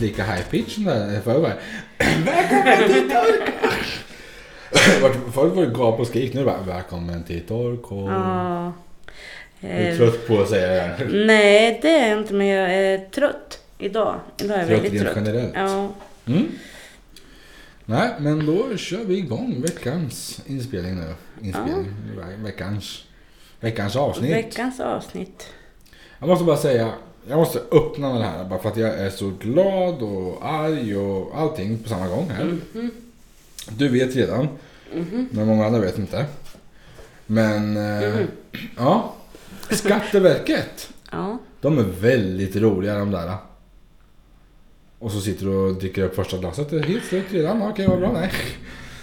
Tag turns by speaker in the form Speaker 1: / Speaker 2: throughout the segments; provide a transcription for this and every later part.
Speaker 1: lika high-pitch där förr. Välkommen till Torka! Vart- Förut var det gap och skrik, nu är det bara välkommen till Torka.
Speaker 2: Ja.
Speaker 1: Jag är
Speaker 2: Eh,
Speaker 1: trött på att säga det här.
Speaker 2: nej, det är jag inte, men jag är trött idag. Idag är jag
Speaker 1: Trött
Speaker 2: väldigt
Speaker 1: rent
Speaker 2: trött.
Speaker 1: generellt.
Speaker 2: Ja.
Speaker 1: Mm. Nej, men då kör vi igång veckans inspelning nu. Inspelning. Veckans, veckans avsnitt.
Speaker 2: Veckans avsnitt.
Speaker 1: Jag måste bara säga, jag måste öppna med det här bara för att jag är så glad och arg och allting på samma gång här.
Speaker 2: Mm.
Speaker 1: Du vet redan, men många andra vet inte. Men, eh, ja. Skatteverket,
Speaker 2: Ja.
Speaker 1: de är väldigt roliga de där. Och så sitter du och dricker upp första glaset helt slut redan. Okej, vad bra. Nej.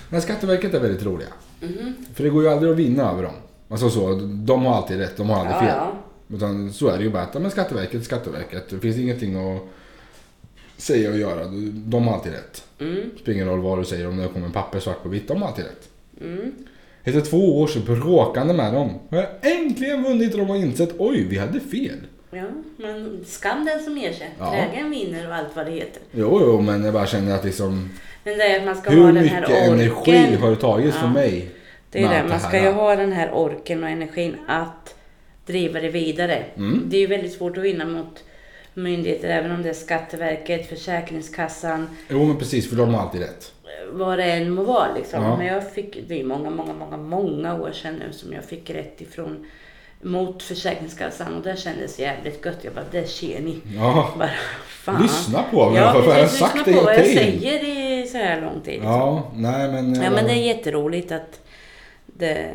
Speaker 1: Men Skatteverket är väldigt roliga. För det går ju aldrig att vinna över dem. Alltså så, de har alltid rätt, de har aldrig fel. Utan så är det ju bara att ja, men Skatteverket, Skatteverket. Det finns ingenting att säga och göra. De har alltid rätt.
Speaker 2: Mm,
Speaker 1: Det spelar ingen roll vad du säger om det kommer en papper svart på vitt. De har alltid rätt.
Speaker 2: mm,
Speaker 1: Efter två års bråkande med dem har jag äntligen vunnit och de har insett oj, vi hade fel.
Speaker 2: ja, men skam den som ger sig.
Speaker 1: Ja.
Speaker 2: Trägen vinner och allt vad det heter.
Speaker 1: Jo, jo, men jag bara känner att liksom
Speaker 2: Men det är att man ska ha
Speaker 1: hur
Speaker 2: den här
Speaker 1: mycket
Speaker 2: orken.
Speaker 1: energi har det tagit
Speaker 2: Ja.
Speaker 1: från mig?
Speaker 2: Det är
Speaker 1: med
Speaker 2: ju det,
Speaker 1: allt
Speaker 2: man ska
Speaker 1: här?
Speaker 2: ju ha den här orken och energin att driva det vidare.
Speaker 1: Mm.
Speaker 2: Det är ju väldigt svårt att vinna mot myndigheter, även om det är Skatteverket, Försäkringskassan,
Speaker 1: Jo, men precis, för de har alltid rätt.
Speaker 2: eh, vad det än må vara. Liksom.
Speaker 1: Ja.
Speaker 2: Men jag fick, det är många, många, många, många år sedan nu som jag fick rätt ifrån mot Försäkringskassan och det kändes jävligt gött. Jag bara, det ser ni.
Speaker 1: Ja,
Speaker 2: Bara, fan.
Speaker 1: lyssna på mig.
Speaker 2: Ja,
Speaker 1: för jag har
Speaker 2: precis.
Speaker 1: sagt
Speaker 2: Lyssna
Speaker 1: det
Speaker 2: på vad jag
Speaker 1: till.
Speaker 2: säger i så här lång tid. liksom.
Speaker 1: Ja, nej men... eh,
Speaker 2: Ja, men det är jätteroligt att det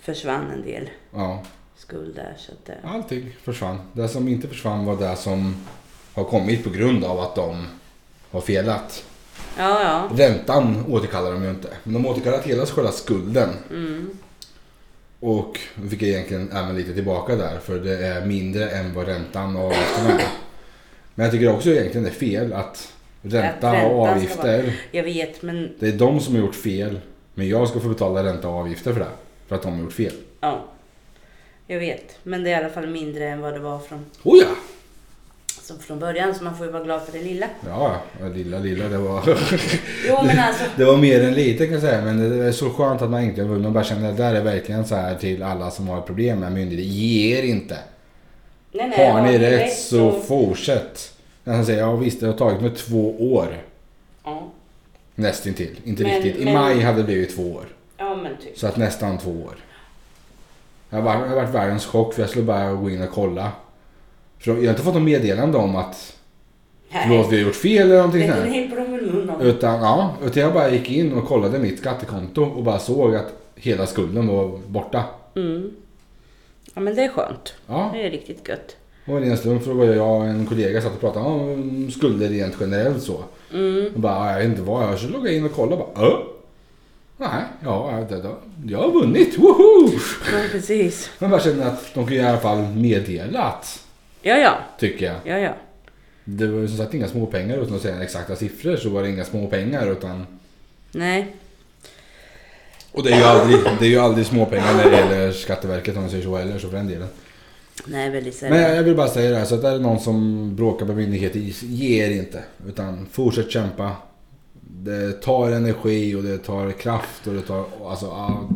Speaker 2: försvann en del
Speaker 1: ja.
Speaker 2: skuld där. Så att det,
Speaker 1: Allting försvann. Det som inte försvann var det som har kommit på grund av att de har felat.
Speaker 2: ja, ja.
Speaker 1: Räntan återkallar de ju inte. Men de återkallar hela själva skulden.
Speaker 2: mm.
Speaker 1: Och vi fick egentligen även lite tillbaka där för det är mindre än vad räntan och avgifterna är. Men jag tycker också egentligen det är fel att ränta
Speaker 2: Att räntan
Speaker 1: och
Speaker 2: ska
Speaker 1: avgifter,
Speaker 2: Jag vet, men
Speaker 1: det är de som har gjort fel. Men jag ska få betala ränta och avgifter för det. För att de har gjort fel.
Speaker 2: ja. Jag vet, men det är i alla fall mindre än vad det var från,
Speaker 1: Oh ja!
Speaker 2: som från början. Så man får ju vara glad för det lilla.
Speaker 1: Ja, ja, lilla lilla det var...
Speaker 2: Jo, men alltså.
Speaker 1: Det var mer än lite kan jag säga, men det är så skönt att man inte har vunnit. Man bara känner att det där är verkligen så här till alla som har problem med myndigheter. Ge er inte!
Speaker 2: Nej, nej,
Speaker 1: Har ni rätt så fortsätt! Den som säger, ja visst det har tagit mig två år.
Speaker 2: Ja.
Speaker 1: Nästintill, inte
Speaker 2: Men-
Speaker 1: riktigt. I
Speaker 2: men-
Speaker 1: maj hade det blivit två år.
Speaker 2: ja, men typ.
Speaker 1: Så att nästan två år. Jag var- jag har varit världens chock för jag skulle bara gå in och kolla. För jag har inte fått något meddelande om att förlåt vi har gjort fel eller någonting sånt
Speaker 2: Vet du,
Speaker 1: här.
Speaker 2: ni blommor i munnen.
Speaker 1: Utan, ja, utan jag bara gick in och kollade mitt skattekonto och bara såg att hela skulden var borta.
Speaker 2: Mm. Ja, men det är skönt.
Speaker 1: Ja,
Speaker 2: Det är riktigt gött.
Speaker 1: och i en stund så var jag och en kollega satt och pratade om skulder rent generellt så.
Speaker 2: Mm.
Speaker 1: Och bara, ja, jag vet inte vad, jag så loggade jag in och kollade och bara, äh? Nej, ja, det, det, jag har vunnit, woho!
Speaker 2: Ja, precis.
Speaker 1: Men bara känner att de kan ju i alla fall meddela att,
Speaker 2: Ja, ja.
Speaker 1: tycker jag.
Speaker 2: Ja, ja.
Speaker 1: Det var ju som sagt inga småpengar utan att säga exakta siffror så var det inga småpengar utan
Speaker 2: Nej.
Speaker 1: Och det är ju aldrig, det är ju aldrig småpengar när det gäller Skatteverket om man säger så eller så för den delen.
Speaker 2: Nej, väldigt
Speaker 1: Men
Speaker 2: sällan.
Speaker 1: jag jag vill bara säga det här, så att är det någon som bråkar med myndigheter, ge er inte. Utan fortsätt kämpa. Det tar energi och det tar kraft och det tar... Alltså, ja.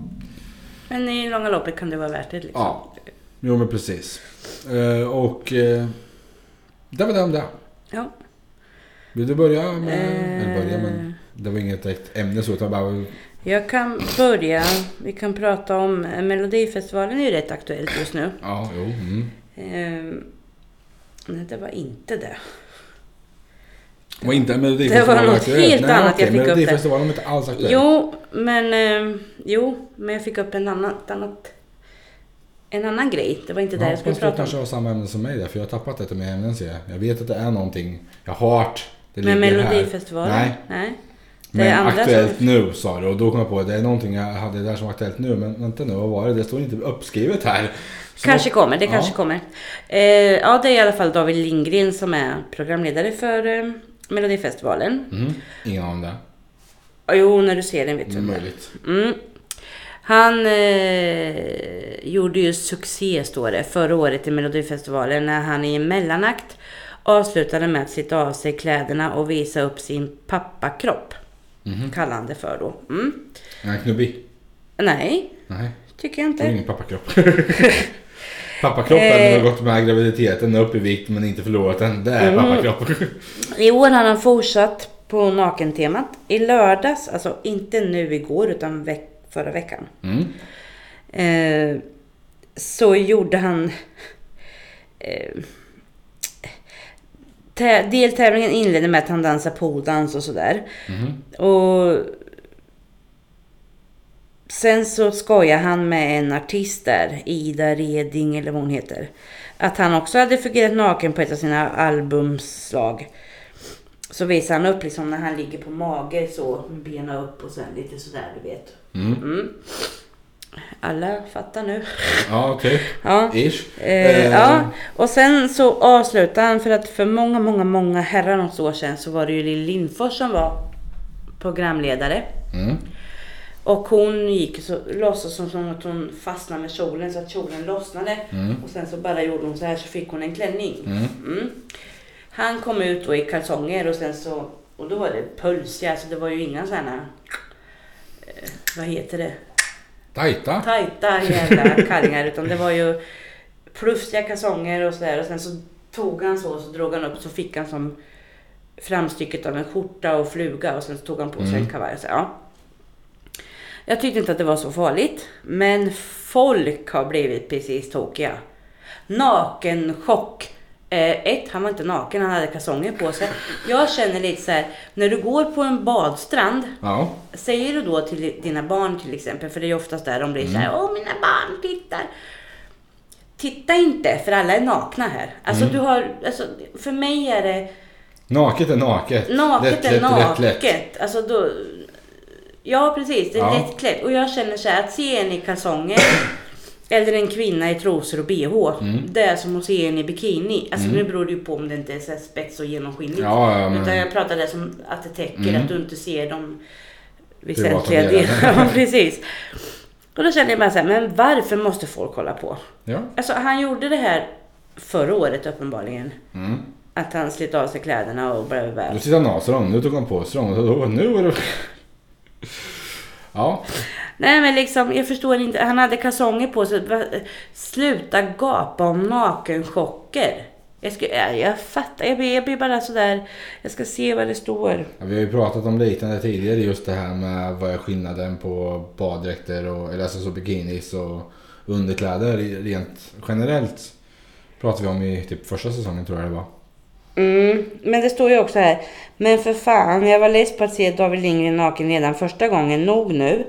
Speaker 2: Men i långa loppet kan det vara värt det. Liksom.
Speaker 1: ja. Jo men precis. Eh, Och... eh, Det var det om det.
Speaker 2: Ja.
Speaker 1: Vill du börja med... Eller
Speaker 2: Eh,
Speaker 1: börja men... Det var inget direkt ämne så utan bara...
Speaker 2: Jag kan börja. Vi kan prata om eh, Melodifestivalen är ju rätt aktuellt just nu.
Speaker 1: Ja, jo. Mm.
Speaker 2: Ehm, nej, det var inte det.
Speaker 1: Det var inte
Speaker 2: Det
Speaker 1: Melodifestivalen
Speaker 2: var något
Speaker 1: aktuellt.
Speaker 2: helt
Speaker 1: Nej,
Speaker 2: annat
Speaker 1: okej,
Speaker 2: jag fick upp där.
Speaker 1: Melodifestivalen var inte alls aktuell.
Speaker 2: Jo, men ehm, jo, men jag fick upp en annan, ett annat, en annan grej. Det var inte det jag skulle
Speaker 1: fast du
Speaker 2: prata om.
Speaker 1: kanske har samma ämne som mig där, för jag har tappat ett av mina ämnen ser jag. Jag vet att det är någonting. Jag har hört. Det
Speaker 2: Men
Speaker 1: ligger här.
Speaker 2: Melodifestivalen?
Speaker 1: Nej,
Speaker 2: nej. Det är
Speaker 1: men
Speaker 2: andra
Speaker 1: aktuellt
Speaker 2: som...
Speaker 1: nu sa du och då kom jag på att det är någonting jag hade där som var aktuellt nu. Men vänta nu, vad var det? Det står inte uppskrivet här. Så-
Speaker 2: Kanske kommer, det kanske
Speaker 1: Ja.
Speaker 2: kommer. Eh, ja, det är i alla fall David Lindgren som är programledare för eh, Melodifestivalen.
Speaker 1: Mhm. Ingen aning om det.
Speaker 2: Ja, Jo, när du ser den vet du vem det är.
Speaker 1: Möjligt.
Speaker 2: Mm. Han eh, gjorde ju succé, står det, förra året i Melodifestivalen när han i en mellanakt avslutade med att sitta av sig kläderna och visa upp sin pappakropp.
Speaker 1: Mhm.
Speaker 2: Kallar han det för då. Mm.
Speaker 1: Är han knubbig?
Speaker 2: Nej,
Speaker 1: Nej,
Speaker 2: tycker jag
Speaker 1: det är
Speaker 2: inte.
Speaker 1: ingen pappakropp. Pappakroppen
Speaker 2: Eh.
Speaker 1: har gått med graviditeten upp i vikt men inte förlorat den. Det är
Speaker 2: Mm.
Speaker 1: pappakropp.
Speaker 2: I år har han fortsatt på nakentemat. I lördags, alltså inte nu igår utan veck- förra veckan.
Speaker 1: Mm.
Speaker 2: Eh, så gjorde han... Eh, tä- deltävlingen inledde med att han dansade poldans och sådär. Och... Sen så skojar han med en artist där, Ida Reding eller vad hon heter. Att han också hade figurerat naken på ett av sina albumslag. Så visar han upp liksom när han ligger på mage så, med benen upp och sen lite sådär du vet. Alla fattar nu.
Speaker 1: Ja, okej.
Speaker 2: Ja.
Speaker 1: Ish.
Speaker 2: Eh,
Speaker 1: Eh,
Speaker 2: ja, och sen så avslutade han för att för många, många, många herrar något år sedan så var det ju Lill Lindfors som var programledare.
Speaker 1: Mm.
Speaker 2: Och hon gick så låtsas som- som att hon fastnade med kjolen så att kjolen lossnade.
Speaker 1: Mm,
Speaker 2: Och sen så bara gjorde hon så här så fick hon en klänning. Mm. Han kom ut då i kalsonger och sen så och då var det pölsiga, alltså det var ju inga sådana, eh, vad heter det,
Speaker 1: Tajta.
Speaker 2: tajta jävla kallingar utan det var ju plufsiga kalsonger och sådär och sen så tog han så och så drog han upp så fick han som framstycket av en skjorta och fluga och sen så tog han på sig en kavaj och så, ja. Jag tyckte inte att det var så farligt men folk har blivit precis tokiga. Nakenchock. Eh, ett, han var inte naken, han hade kalsonger på sig. Jag känner lite så här, när du går på en badstrand
Speaker 1: Ja.
Speaker 2: Säger du då till dina barn till exempel, för det är ju oftast där de blir så här, åh mina barn tittar. Titta inte, för alla är nakna här. Alltså du har, alltså, för mig är det
Speaker 1: Naket är naket.
Speaker 2: naket
Speaker 1: lätt,
Speaker 2: är
Speaker 1: Lätt, lätt, lätt.
Speaker 2: naket. Alltså då, ja precis, det är
Speaker 1: Ja.
Speaker 2: lättklätt. Och jag känner så här, att se en i kalsonger eller en kvinna i trosor och bh,
Speaker 1: Mm.
Speaker 2: det är som att se en i bikini. Alltså nu beror det ju på om det inte är så här spets och genomskinligt.
Speaker 1: Ja, ja, men- Mm.
Speaker 2: Utan jag pratar det som att det täcker, att du inte ser dem väsentliga
Speaker 1: Privata
Speaker 2: delarna.
Speaker 1: delar.
Speaker 2: Ja, precis. Och då känner jag bara så här, men varför måste folk hålla på?
Speaker 1: Ja.
Speaker 2: Alltså han gjorde det här förra året uppenbarligen.
Speaker 1: Mm.
Speaker 2: Att han slet av sig kläderna och bla bla bla.
Speaker 1: Då sitter han av sig dem. Nu tog han på sig dem. Och då, nu är det... Ja.
Speaker 2: Nej men liksom, jag förstår inte. Han hade kalsonger på sig. Va- Sluta gapa om nakenchocker. Jag, skulle, ja, jag fattar, jag blir, jag blir bara sådär. Jag ska se vad det står.
Speaker 1: Ja, Vi har ju pratat om liknande tidigare, just det här med vad är skillnaden på baddräkter och eller alltså så bikinis och underkläder i- rent generellt. Pratade vi om i typ första säsongen tror jag det var.
Speaker 2: Mm, men det står ju också här. Men för fan, jag var less på att se David Lindgren naken redan första gången. Nog nu.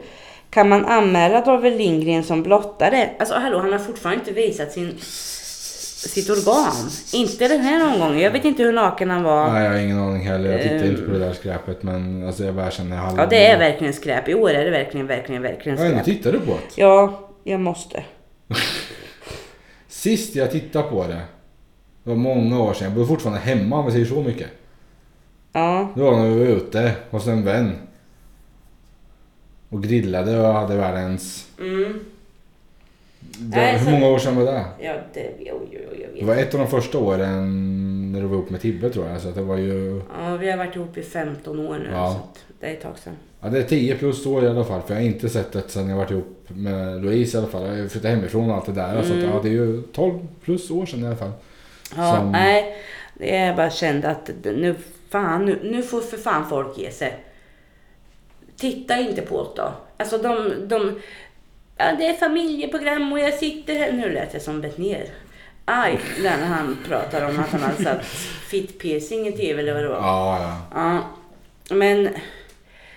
Speaker 2: Kan man anmäla David Lindgren som blottare? Alltså hallå, han har fortfarande inte visat sin, sitt organ. Inte den här omgången. Jag vet inte hur naken han var.
Speaker 1: Nej, jag har ingen aning heller. Jag tittar inte på det där skräpet men alltså jag bara känner halva...
Speaker 2: Eh. Ja, det är verkligen skräp. I år är det verkligen, verkligen, verkligen
Speaker 1: Ja, nu
Speaker 2: skräp.
Speaker 1: tittar du på det.
Speaker 2: Ja, jag måste.
Speaker 1: Sist jag tittade på det, det var många år sedan. Jag bodde fortfarande hemma om jag säger så mycket.
Speaker 2: Ja,
Speaker 1: Det var när vi var ute hos en vän. Och grillade och hade världens...
Speaker 2: mm.
Speaker 1: Det,
Speaker 2: Nej, så-
Speaker 1: hur många år sedan var det?
Speaker 2: ja det, oj, oj, oj, jag
Speaker 1: Det
Speaker 2: vet.
Speaker 1: var ett av de första åren när du var ihop med Tibbe tror jag. Så att det var ju...
Speaker 2: Ja, vi har varit ihop i 15 år nu.
Speaker 1: Ja.
Speaker 2: Så att det är ett tag sedan.
Speaker 1: Ja, det är 10 plus år i alla fall. För jag har inte sett det sen jag varit ihop med Louise i alla fall. Jag har ju flyttat hemifrån och allt det där. Så att, ja,
Speaker 2: Mm.
Speaker 1: det är ju 12 plus år sedan i alla fall.
Speaker 2: Ja,
Speaker 1: Som-
Speaker 2: nej. Det är bara kände att nu, fan, nu, nu får för fan folk ge sig. Titta inte på det då. Alltså de, de, ja det är familjeprogram och jag sitter här. Nu lät jag som Betnér. Aj, där när han pratar om att han hade satt fit-piercing i tv eller vad det var.
Speaker 1: Ja, ja.
Speaker 2: Ja, men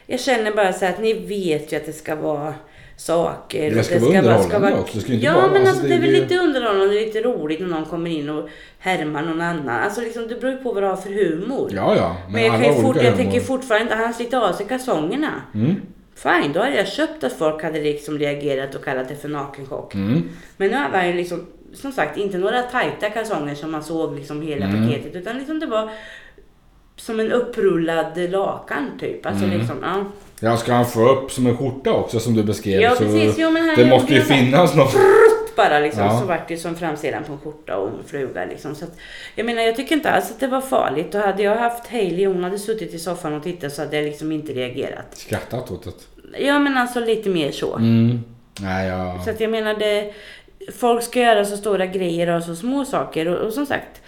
Speaker 2: jag känner bara så här att ni vet ju att det ska vara saker.
Speaker 1: Det
Speaker 2: och
Speaker 1: ska vara underhållande också, det ska ju inte
Speaker 2: ja,
Speaker 1: bara-
Speaker 2: men
Speaker 1: alltså,
Speaker 2: alltså, det,
Speaker 1: det
Speaker 2: är väl
Speaker 1: blir ju-
Speaker 2: lite underhållande, det är lite roligt när någon kommer in och härmar någon annan. Alltså liksom, det beror ju på vad du har för humor.
Speaker 1: Ja, ja.
Speaker 2: men jag, kan ju fort, jag
Speaker 1: humor.
Speaker 2: tänker fortfarande inte, han sliter av sig kalsongerna.
Speaker 1: Mm.
Speaker 2: Fine, då hade jag köpt att folk hade liksom reagerat och kallat det för nakenchock.
Speaker 1: Mm.
Speaker 2: Men nu hade han ju liksom, som sagt, inte några tajta kalsonger som man såg liksom hela
Speaker 1: Mm.
Speaker 2: paketet. Utan liksom det var som en upprullad lakan typ. Alltså
Speaker 1: Mm.
Speaker 2: liksom, ja.
Speaker 1: Ja, ska han få upp som en skjorta också som du beskrev?
Speaker 2: Ja,
Speaker 1: så
Speaker 2: precis. Jo, men här
Speaker 1: det
Speaker 2: är-
Speaker 1: måste ju finnas något.
Speaker 2: bara liksom,
Speaker 1: Ja.
Speaker 2: så vart det som framsidan på en skjorta och en fluga. Liksom. Så att, jag menar, jag tycker inte alls att det var farligt. Och hade jag haft Hailey, hon hade suttit i soffan och tittat så hade jag liksom inte reagerat.
Speaker 1: Skrattat åt det.
Speaker 2: Ja men alltså lite mer så.
Speaker 1: Mm. Nej, jag...
Speaker 2: Så att jag menar, det, folk ska göra så stora grejer och så små saker. Och, och som sagt,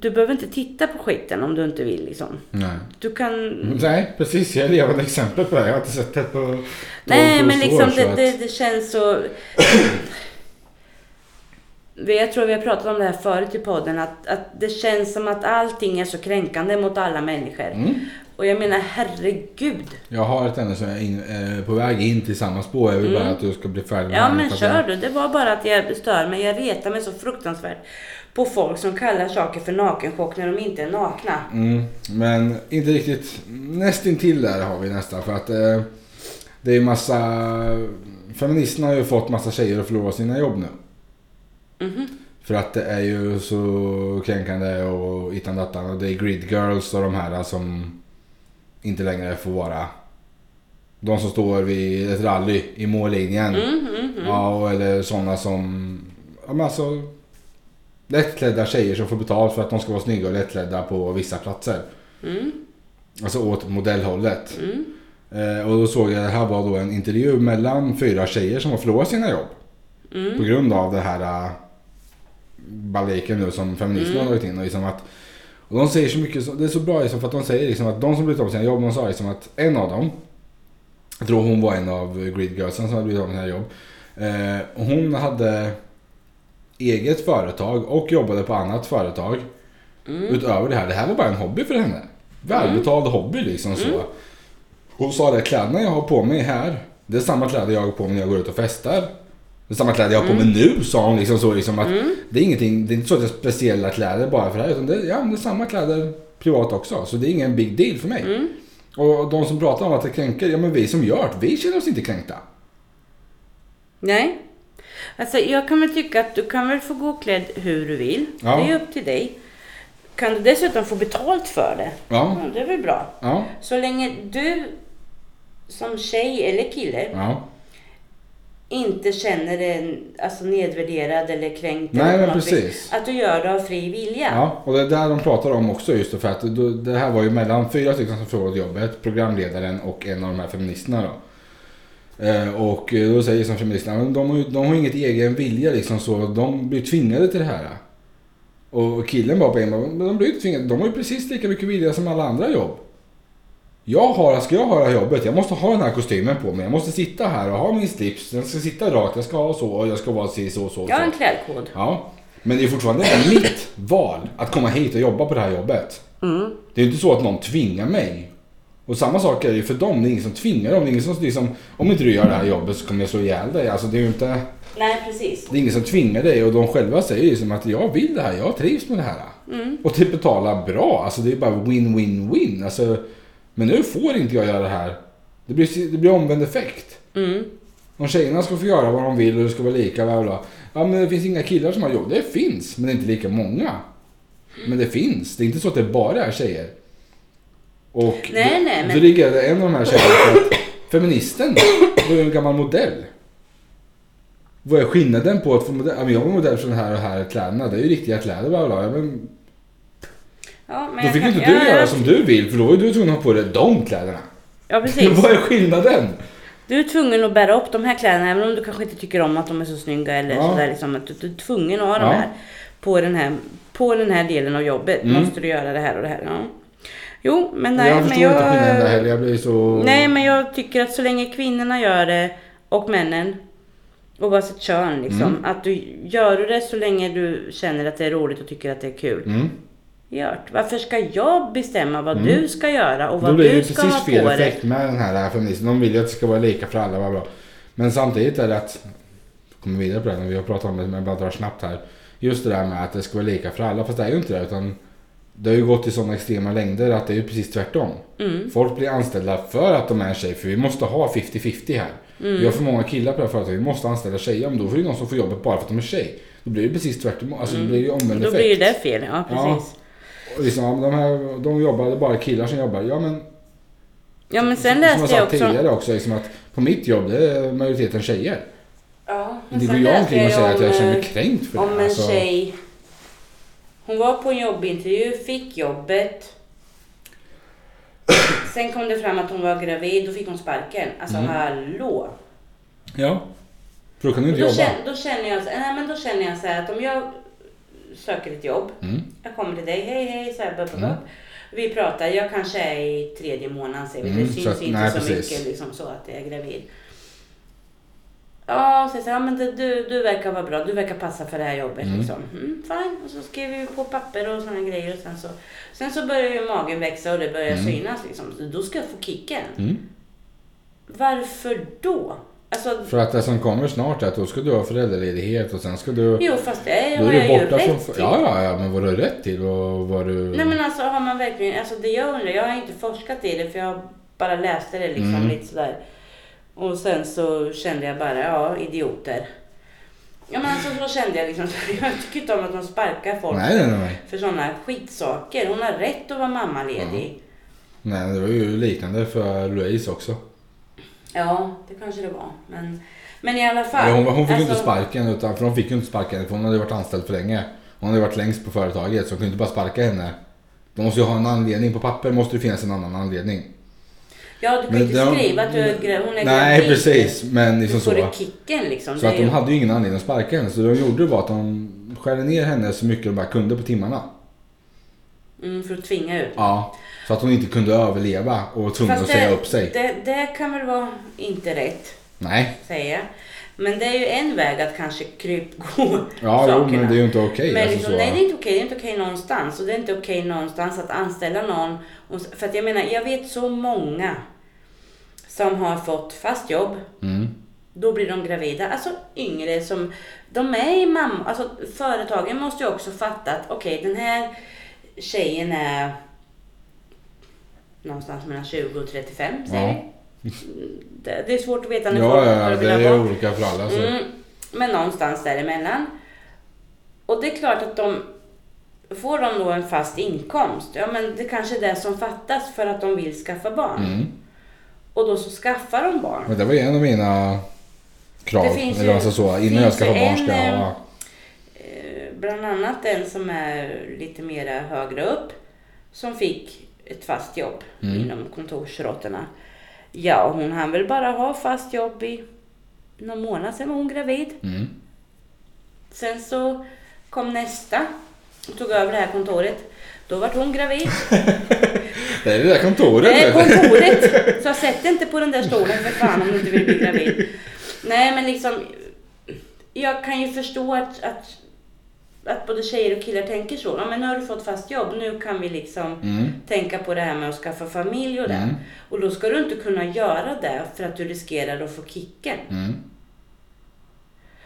Speaker 2: du behöver inte titta på skiten om du inte vill liksom.
Speaker 1: Nej.
Speaker 2: Du kan...
Speaker 1: Nej, precis. Jag är levande exempel på det. Jag har inte sett det på... på
Speaker 2: Nej,
Speaker 1: på
Speaker 2: men
Speaker 1: så år,
Speaker 2: liksom
Speaker 1: så
Speaker 2: det,
Speaker 1: att-
Speaker 2: det, det känns så... Vi- Jag tror vi har pratat om det här förut i podden, att, att det känns som att allting är så kränkande mot alla människor.
Speaker 1: Mm.
Speaker 2: Och jag menar, herregud.
Speaker 1: Jag har ett ämne som jag är in, eh, på väg in till samma spår. Jag vill bara att du ska bli färdig
Speaker 2: Mm. Ja,
Speaker 1: det,
Speaker 2: men
Speaker 1: för att
Speaker 2: kör du. Det var bara att jag stör mig. Jag retar mig så fruktansvärt på folk som kallar saker för nakenchock när de inte är nakna.
Speaker 1: Jag, mm, men inte riktigt. Nästintill där har vi nästan. För att eh, det är ju massa... Feministerna har ju fått massa tjejer att förlora sina jobb nu.
Speaker 2: Mm-hmm.
Speaker 1: För att det är ju så kränkande och hitan dattan. Och det är grid girls och de här som inte längre får vara. De som står vid ett rally i mållinjen.
Speaker 2: Mm, mm, mm.
Speaker 1: Ja, och eller sådana som... Ja, men alltså, lättklädda tjejer som får betalt för att de ska vara snygga och lättklädda på vissa platser.
Speaker 2: Mm,
Speaker 1: Alltså åt modellhållet.
Speaker 2: mm,
Speaker 1: Eh, och då såg jag, det här var då en intervju mellan fyra tjejer som har förlorat sina jobb. På
Speaker 2: mm,
Speaker 1: grund av det här äh, baleken nu som feministerna har dragit in. Och liksom att, och de säger så mycket, så- det är så bra liksom för att de säger liksom att de som blivit av med sina jobb, de sa liksom att en av dem, jag tror hon var en av grid girlsen som hade blivit av med sina jobb. Eh, och hon hade eget företag och jobbade på annat företag
Speaker 2: mm.
Speaker 1: utöver det här. Det här var bara en hobby för henne. Välbetald hobby liksom så. Hon sa det, kläderna jag har på mig här, det är samma kläder jag har på mig när jag går ut och festar. Det är samma kläder jag har på mig nu, sa hon liksom så. Liksom att det, är ingenting, det är inte så att jag har speciella kläder bara för det här, utan det, är- ja, men det är samma kläder privat också. Så det är ingen big deal för mig. Och de som pratar om att det kränker, ja men vi som gör det, vi känner oss inte kränkta.
Speaker 2: Nej. Alltså jag kan väl tycka att du kan väl få gå klädd hur du vill.
Speaker 1: Ja.
Speaker 2: Det är upp till dig. Kan du dessutom få betalt för det?
Speaker 1: Ja,
Speaker 2: Ja, det är väl bra.
Speaker 1: ja,
Speaker 2: Så länge du som tjej eller kille
Speaker 1: ja.
Speaker 2: inte känner dig alltså, nedvärderad eller kränkt.
Speaker 1: Nej,
Speaker 2: eller på
Speaker 1: men
Speaker 2: något
Speaker 1: precis.
Speaker 2: Vis, att du gör det av fri vilja.
Speaker 1: Ja, och det är där de pratar om också just det, för att då- det här var ju mellan fyra stycken som förlorade jobbet, programledaren och en av de här feministerna då. Eh, Och då säger som feministerna, men de har, ju, de har inget egen vilja liksom så, de blir tvingade till det här. Och killen bara på en bara, men de blir ju inte tvingade, de har ju precis lika mycket vilja som alla andra jobb. Jag har, ska jag ha det här jobbet, jag måste ha den här kostymen på mig, jag måste sitta här och ha min slips, den ska sitta rakt, jag ska ha så, och jag ska vara si, så, så,
Speaker 2: Jag har
Speaker 1: så.
Speaker 2: en klädkod.
Speaker 1: Ja, men det är fortfarande mitt val att komma hit och jobba på det här jobbet.
Speaker 2: Mm.
Speaker 1: Det är ju inte så att någon tvingar mig. Och samma sak är det ju för dem, det är ingen som tvingar dem. Det är ingen som liksom, om inte du gör det här jobbet så kommer jag slå ihjäl dig. Alltså det är ju inte,
Speaker 2: Nej, precis.
Speaker 1: det är ingen som tvingar dig och de själva säger ju som att jag vill det här, jag trivs med det här. Och det betalar bra, alltså det är bara win-win-win. Alltså, men nu får inte jag göra det här. Det blir, det blir omvänd effekt.
Speaker 2: Mm.
Speaker 1: Om tjejerna ska få göra vad de vill och det ska vara lika, bla bla, bla. Ja men det finns inga killar som har jobb. Det finns, men det är inte lika många. Men det finns. Det är inte så att det bara är tjejer. Och
Speaker 2: Nej,
Speaker 1: då,
Speaker 2: nej, men-
Speaker 1: då reagerade en av de här tjejerna för att feministen var ju en gammal modell. Vad är skillnaden på att få modell? Ja, men jag var modell för den här och här kläderna. Det är ju riktiga kläder, bla bla, bla. Ja, men
Speaker 2: Ja, men
Speaker 1: då
Speaker 2: jag
Speaker 1: fick
Speaker 2: kan-
Speaker 1: inte du
Speaker 2: ja,
Speaker 1: göra
Speaker 2: ja.
Speaker 1: som du vill, för då var ju du tvungen att ha på dig de kläderna.
Speaker 2: Ja, precis.
Speaker 1: Vad är skillnaden?
Speaker 2: Du är tvungen att bära upp de här kläderna även om du kanske inte tycker om att de är så snygga eller
Speaker 1: Ja.
Speaker 2: sådär liksom. Att du, du är tvungen att ha
Speaker 1: Ja.
Speaker 2: de här på, den här på den här delen av jobbet.
Speaker 1: Mm.
Speaker 2: Måste du göra det här och det här. Ja. Jo, men nej.
Speaker 1: jag
Speaker 2: men
Speaker 1: förstår inte skillnaden där heller. Jag blir så...
Speaker 2: Nej, men jag tycker att så länge kvinnorna gör det och männen, oavsett kön liksom,
Speaker 1: Mm.
Speaker 2: att du gör du det så länge du känner att det är roligt och tycker att det är kul.
Speaker 1: Mm.
Speaker 2: Gör det. Varför ska jag bestämma vad du ska göra och
Speaker 1: Då
Speaker 2: vad
Speaker 1: blir det ju
Speaker 2: du ska
Speaker 1: precis
Speaker 2: ha
Speaker 1: fel
Speaker 2: på dig?
Speaker 1: effekt med den här feministen. De vill ju att det ska vara lika för alla, vad bra. Men samtidigt är det att, jag kommer vidare på det här när vi har pratat om det, men jag bara drar snabbt här. Just det där med att det ska vara lika för alla, fast det är ju inte det. Utan det har ju gått i sådana extrema längder att det är ju precis tvärtom.
Speaker 2: Mm.
Speaker 1: Folk blir anställda för att de är en tjej, för vi måste ha 50-50 här.
Speaker 2: Mm.
Speaker 1: Vi har för många killar på det här företaget, vi måste anställa tjejer. Men då får ju någon som får jobbet bara för att de är tjej. Då blir det precis tvärtom, alltså det blir ju omvänd
Speaker 2: Mm. Då
Speaker 1: effekt.
Speaker 2: blir ju det fel, ja precis.
Speaker 1: Och liksom, ja, men de, här, de jobbar, det är bara killar som jobbar. Ja men
Speaker 2: Ja men sen
Speaker 1: Som jag
Speaker 2: läste
Speaker 1: sa
Speaker 2: jag också.
Speaker 1: tidigare också, liksom att på mitt jobb det är majoriteten tjejer.
Speaker 2: Ja, men
Speaker 1: Inte går
Speaker 2: sen
Speaker 1: jag
Speaker 2: läste
Speaker 1: omkring och säger
Speaker 2: om,
Speaker 1: att jag känner mig
Speaker 2: eh,
Speaker 1: kränkt för
Speaker 2: Om
Speaker 1: det.
Speaker 2: en
Speaker 1: Alltså,
Speaker 2: tjej. Hon var på en jobbintervju, fick jobbet. Sen kom det fram att hon var gravid, då fick hon sparken. Alltså
Speaker 1: Mm.
Speaker 2: hallå!
Speaker 1: ja. För då kan du
Speaker 2: Och
Speaker 1: inte
Speaker 2: Då,
Speaker 1: jobba.
Speaker 2: känner, då, känner jag, så- nej, men då känner jag så här att om jag söker ett jobb,
Speaker 1: Mm.
Speaker 2: jag kommer till dig, hej hej, så här, blah, blah,
Speaker 1: Mm.
Speaker 2: blah. Vi pratar, jag kanske är i tredje månaden, säger vi.
Speaker 1: Mm,
Speaker 2: det syns
Speaker 1: så att-
Speaker 2: inte
Speaker 1: nej,
Speaker 2: så
Speaker 1: precis.
Speaker 2: mycket liksom, så att jag är gravid. Ja, så jag säger, ja, men det, du, du verkar vara bra, du verkar passa för det här jobbet.
Speaker 1: Mm.
Speaker 2: Liksom. Mm, fine. Och så skriver vi på papper och sådana grejer. Och sen, så, sen så börjar ju magen växa och det börjar
Speaker 1: Mm.
Speaker 2: synas. Liksom. Så Då ska jag få kicken.
Speaker 1: Mm.
Speaker 2: Varför då? Alltså,
Speaker 1: För att det som kommer snart är att då ska du ha föräldraledighet och sen ska du...
Speaker 2: jo fast det
Speaker 1: Då
Speaker 2: har
Speaker 1: är
Speaker 2: jag
Speaker 1: du
Speaker 2: ju
Speaker 1: borta
Speaker 2: rätt
Speaker 1: från...
Speaker 2: till.
Speaker 1: Ja, ja, ja, men vad du har rätt till och vad du...
Speaker 2: Nej men alltså har man verkligen, alltså det jag undrar, jag har inte forskat i det för jag bara läste det liksom
Speaker 1: Mm.
Speaker 2: lite sådär. Och sen så kände jag bara, ja idioter. Ja men alltså så kände jag liksom, jag tycker inte om att de sparkar folk
Speaker 1: nej, nej, nej.
Speaker 2: för sådana skitsaker. Hon har rätt att vara mammaledig.
Speaker 1: Nej, det var ju liknande för Louise också.
Speaker 2: Ja. det kanske det var. Men, men i alla fall.
Speaker 1: Eller hon, hon fick ju
Speaker 2: alltså,
Speaker 1: inte sparken, utan, för hon fick ju inte sparken för hon hade varit anställd för länge. Hon hade varit längst på företaget så de kunde inte bara sparka henne. De måste ju ha en anledning, på papper måste det finnas en annan anledning.
Speaker 2: Ja du kan ju inte
Speaker 1: de-
Speaker 2: skriva att du är, gra- hon är
Speaker 1: Nej
Speaker 2: gravid.
Speaker 1: precis, men liksom
Speaker 2: Då får
Speaker 1: så.
Speaker 2: du kicken liksom.
Speaker 1: Så
Speaker 2: Det
Speaker 1: att
Speaker 2: är
Speaker 1: de
Speaker 2: ju-
Speaker 1: hade ju ingen anledning att sparka henne. Så de gjorde var att de skärde ner henne så mycket de bara kunde på timmarna.
Speaker 2: mm, för att tvinga ut.
Speaker 1: Ja. Så att hon inte kunde överleva och var tvungen att säga upp sig.
Speaker 2: Det, det kan väl vara inte rätt.
Speaker 1: Nej.
Speaker 2: säga. Men det är ju en väg att kanske krypgå
Speaker 1: Ja, jo, men det är ju inte okej.
Speaker 2: Men
Speaker 1: alltså
Speaker 2: liksom,
Speaker 1: så.
Speaker 2: nej, det är inte okej. Det är inte okej någonstans. Och det är inte okej någonstans att anställa någon. Och, för att jag menar, jag vet så många som har fått fast jobb.
Speaker 1: Mm.
Speaker 2: Då blir de gravida. Alltså yngre som, de är i mamma, alltså företagen måste ju också fatta att okej, den här tjejen är någonstans mellan 20 och 35 säger
Speaker 1: Ja.
Speaker 2: vi. Det, det är svårt att veta när
Speaker 1: Ja,
Speaker 2: folk
Speaker 1: ja, ja, det
Speaker 2: börjar
Speaker 1: är
Speaker 2: vilja
Speaker 1: ju
Speaker 2: vara.
Speaker 1: olika för alla. Så.
Speaker 2: Mm, men någonstans däremellan. Och det är klart att de får de då en fast inkomst. Ja, men det kanske är det som fattas för att de vill skaffa barn.
Speaker 1: Mm.
Speaker 2: Och då så skaffar de barn.
Speaker 1: Men det var ju en av mina
Speaker 2: Det
Speaker 1: krav.
Speaker 2: finns
Speaker 1: Eller
Speaker 2: ju-
Speaker 1: alltså så,
Speaker 2: finns
Speaker 1: innan jag skaffade
Speaker 2: ju
Speaker 1: barn ska
Speaker 2: en,
Speaker 1: jag
Speaker 2: eh,
Speaker 1: ha...
Speaker 2: Eh, Bland annat en som är lite mera högre upp som fick ett fast jobb inom kontorsråttorna. Ja, hon hann väl bara ha fast jobb i någon månad, sen var hon gravid.
Speaker 1: Mm.
Speaker 2: Sen så kom nästa och tog över det här kontoret. Då vart hon gravid.
Speaker 1: Det är det där kontoret.
Speaker 2: Nej,
Speaker 1: vet du.
Speaker 2: kontoret! Så sätt dig inte på den där stolen för fan om du inte vill bli gravid. Nej, men liksom. Jag kan ju förstå att, att, att både tjejer och killar tänker så. Ja, men nu har du fått fast jobb. Nu kan vi liksom
Speaker 1: Mm.
Speaker 2: tänka på det här med att skaffa familj och det.
Speaker 1: Mm.
Speaker 2: Och då ska du inte kunna göra det för att du riskerar att få kicken.
Speaker 1: Mm.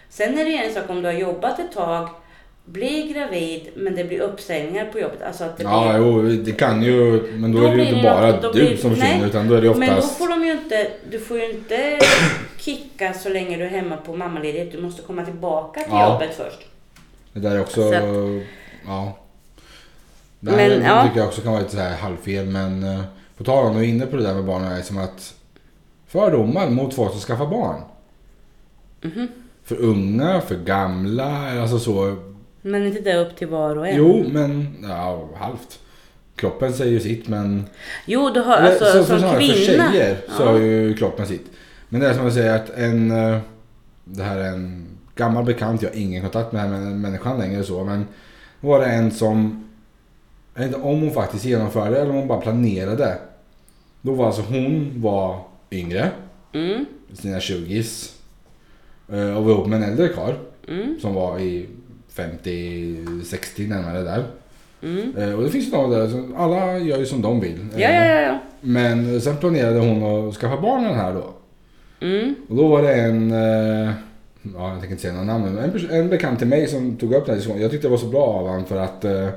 Speaker 2: Sen är det en sak om du har jobbat ett tag, blir gravid, men det blir uppsägningar på jobbet. Alltså att det
Speaker 1: Ja,
Speaker 2: blir,
Speaker 1: jo, det kan ju... Men då, är det ju inte
Speaker 2: blir
Speaker 1: bara
Speaker 2: något- då
Speaker 1: du
Speaker 2: blir-
Speaker 1: som försvinner
Speaker 2: nej,
Speaker 1: utan då är det
Speaker 2: Men då
Speaker 1: oftast...
Speaker 2: får de ju inte, du får ju inte kicka så länge du är hemma på mammaledighet. Du måste komma tillbaka till
Speaker 1: Ja.
Speaker 2: jobbet först.
Speaker 1: Det där är också...
Speaker 2: Så
Speaker 1: Ja. Det
Speaker 2: Men,
Speaker 1: här
Speaker 2: ja.
Speaker 1: tycker jag också kan vara lite så här halvfel men... eh, På tal om du är inne på det där med barn är som att... Fördomar mot folk som skaffar barn.
Speaker 2: Mhm.
Speaker 1: För unga, för gamla, alltså så.
Speaker 2: Men inte det upp till var och en?
Speaker 1: Jo, men... Ja, halvt. Kroppen säger ju sitt men...
Speaker 2: Jo, du har,
Speaker 1: Eller,
Speaker 2: alltså
Speaker 1: så-
Speaker 2: som
Speaker 1: så snarare
Speaker 2: kvinna.
Speaker 1: För tjejer så
Speaker 2: Ja.
Speaker 1: har ju kroppen sitt. Men det är som att säga att en... eh, Det här är en gammal bekant, jag har ingen kontakt med den här män- människan längre så. Men då var det en som... Jag vet inte om hon faktiskt genomförde eller om hon bara planerade. Då var alltså hon var yngre,
Speaker 2: Mm,
Speaker 1: sina 20s. eh, Och var ihop med en äldre karl
Speaker 2: mm,
Speaker 1: som var i 50-60 närmare där.
Speaker 2: mm.
Speaker 1: Eh, Och det finns ju några där, som- alla gör ju som de vill. Eh,
Speaker 2: Ja, ja, ja. ja.
Speaker 1: Men sen planerade hon att skaffa barn den här då.
Speaker 2: Mm,
Speaker 1: Och då var det en, eh, ja jag tänker inte säga några namn nu, men en, pers- en bekant till mig som tog upp den här diskussionen. Jag tyckte det var så bra av honom för att eh,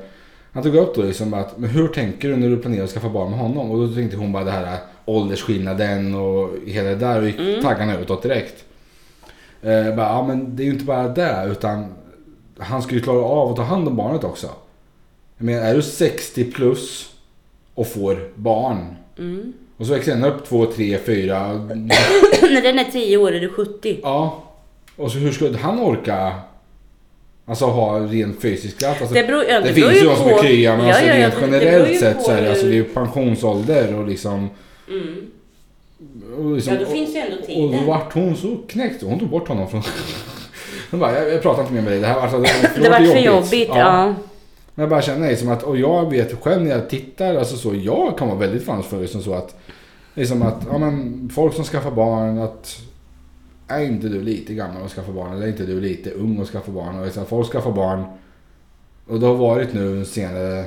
Speaker 1: han tog upp då liksom att, men hur tänker du när du planerar att skaffa barn med honom? Och då tänkte hon bara det här eh, åldersskillnaden och hela det där och gick
Speaker 2: Mm.
Speaker 1: taggarna utåt direkt. Eh, bara, ja men det är ju inte bara det utan han skulle ju klara av att ta hand om barnet också. Jag menar är du 60 plus och får barn
Speaker 2: mm.
Speaker 1: och så växer den upp två, tre, fyra. Alltså,
Speaker 2: När den är tio år är du 70.
Speaker 1: Ja. Och så hur skulle han orka Alltså ha ren fysisk kraft? Alltså,
Speaker 2: Det beror, ja, det beror
Speaker 1: finns ju de som
Speaker 2: på-
Speaker 1: är krya men
Speaker 2: Ja,
Speaker 1: alltså,
Speaker 2: ja, ja,
Speaker 1: rent
Speaker 2: det- det beror ju
Speaker 1: generellt
Speaker 2: på
Speaker 1: sett så är det, alltså,
Speaker 2: hur-
Speaker 1: det är ju pensionsålder och liksom...
Speaker 2: Mm.
Speaker 1: Och liksom
Speaker 2: Ja, då finns ju ändå
Speaker 1: och då
Speaker 2: tiden.
Speaker 1: vart hon så knäckt. Hon tog bort honom från... Hon bara, jag, jag pratar inte mer med dig. Det här var, alltså, det var,
Speaker 2: Det var för jobbigt, ja.
Speaker 1: Men jag bara känner liksom att, och jag vet själv när jag tittar, alltså så, jag kan vara väldigt fanfull som så att, liksom att, ja men folk som skaffar barn, att är inte du lite gammal och skaffar barn eller är inte du lite ung och skaffar barn? Och liksom, folk skaffar barn och det har varit nu den senare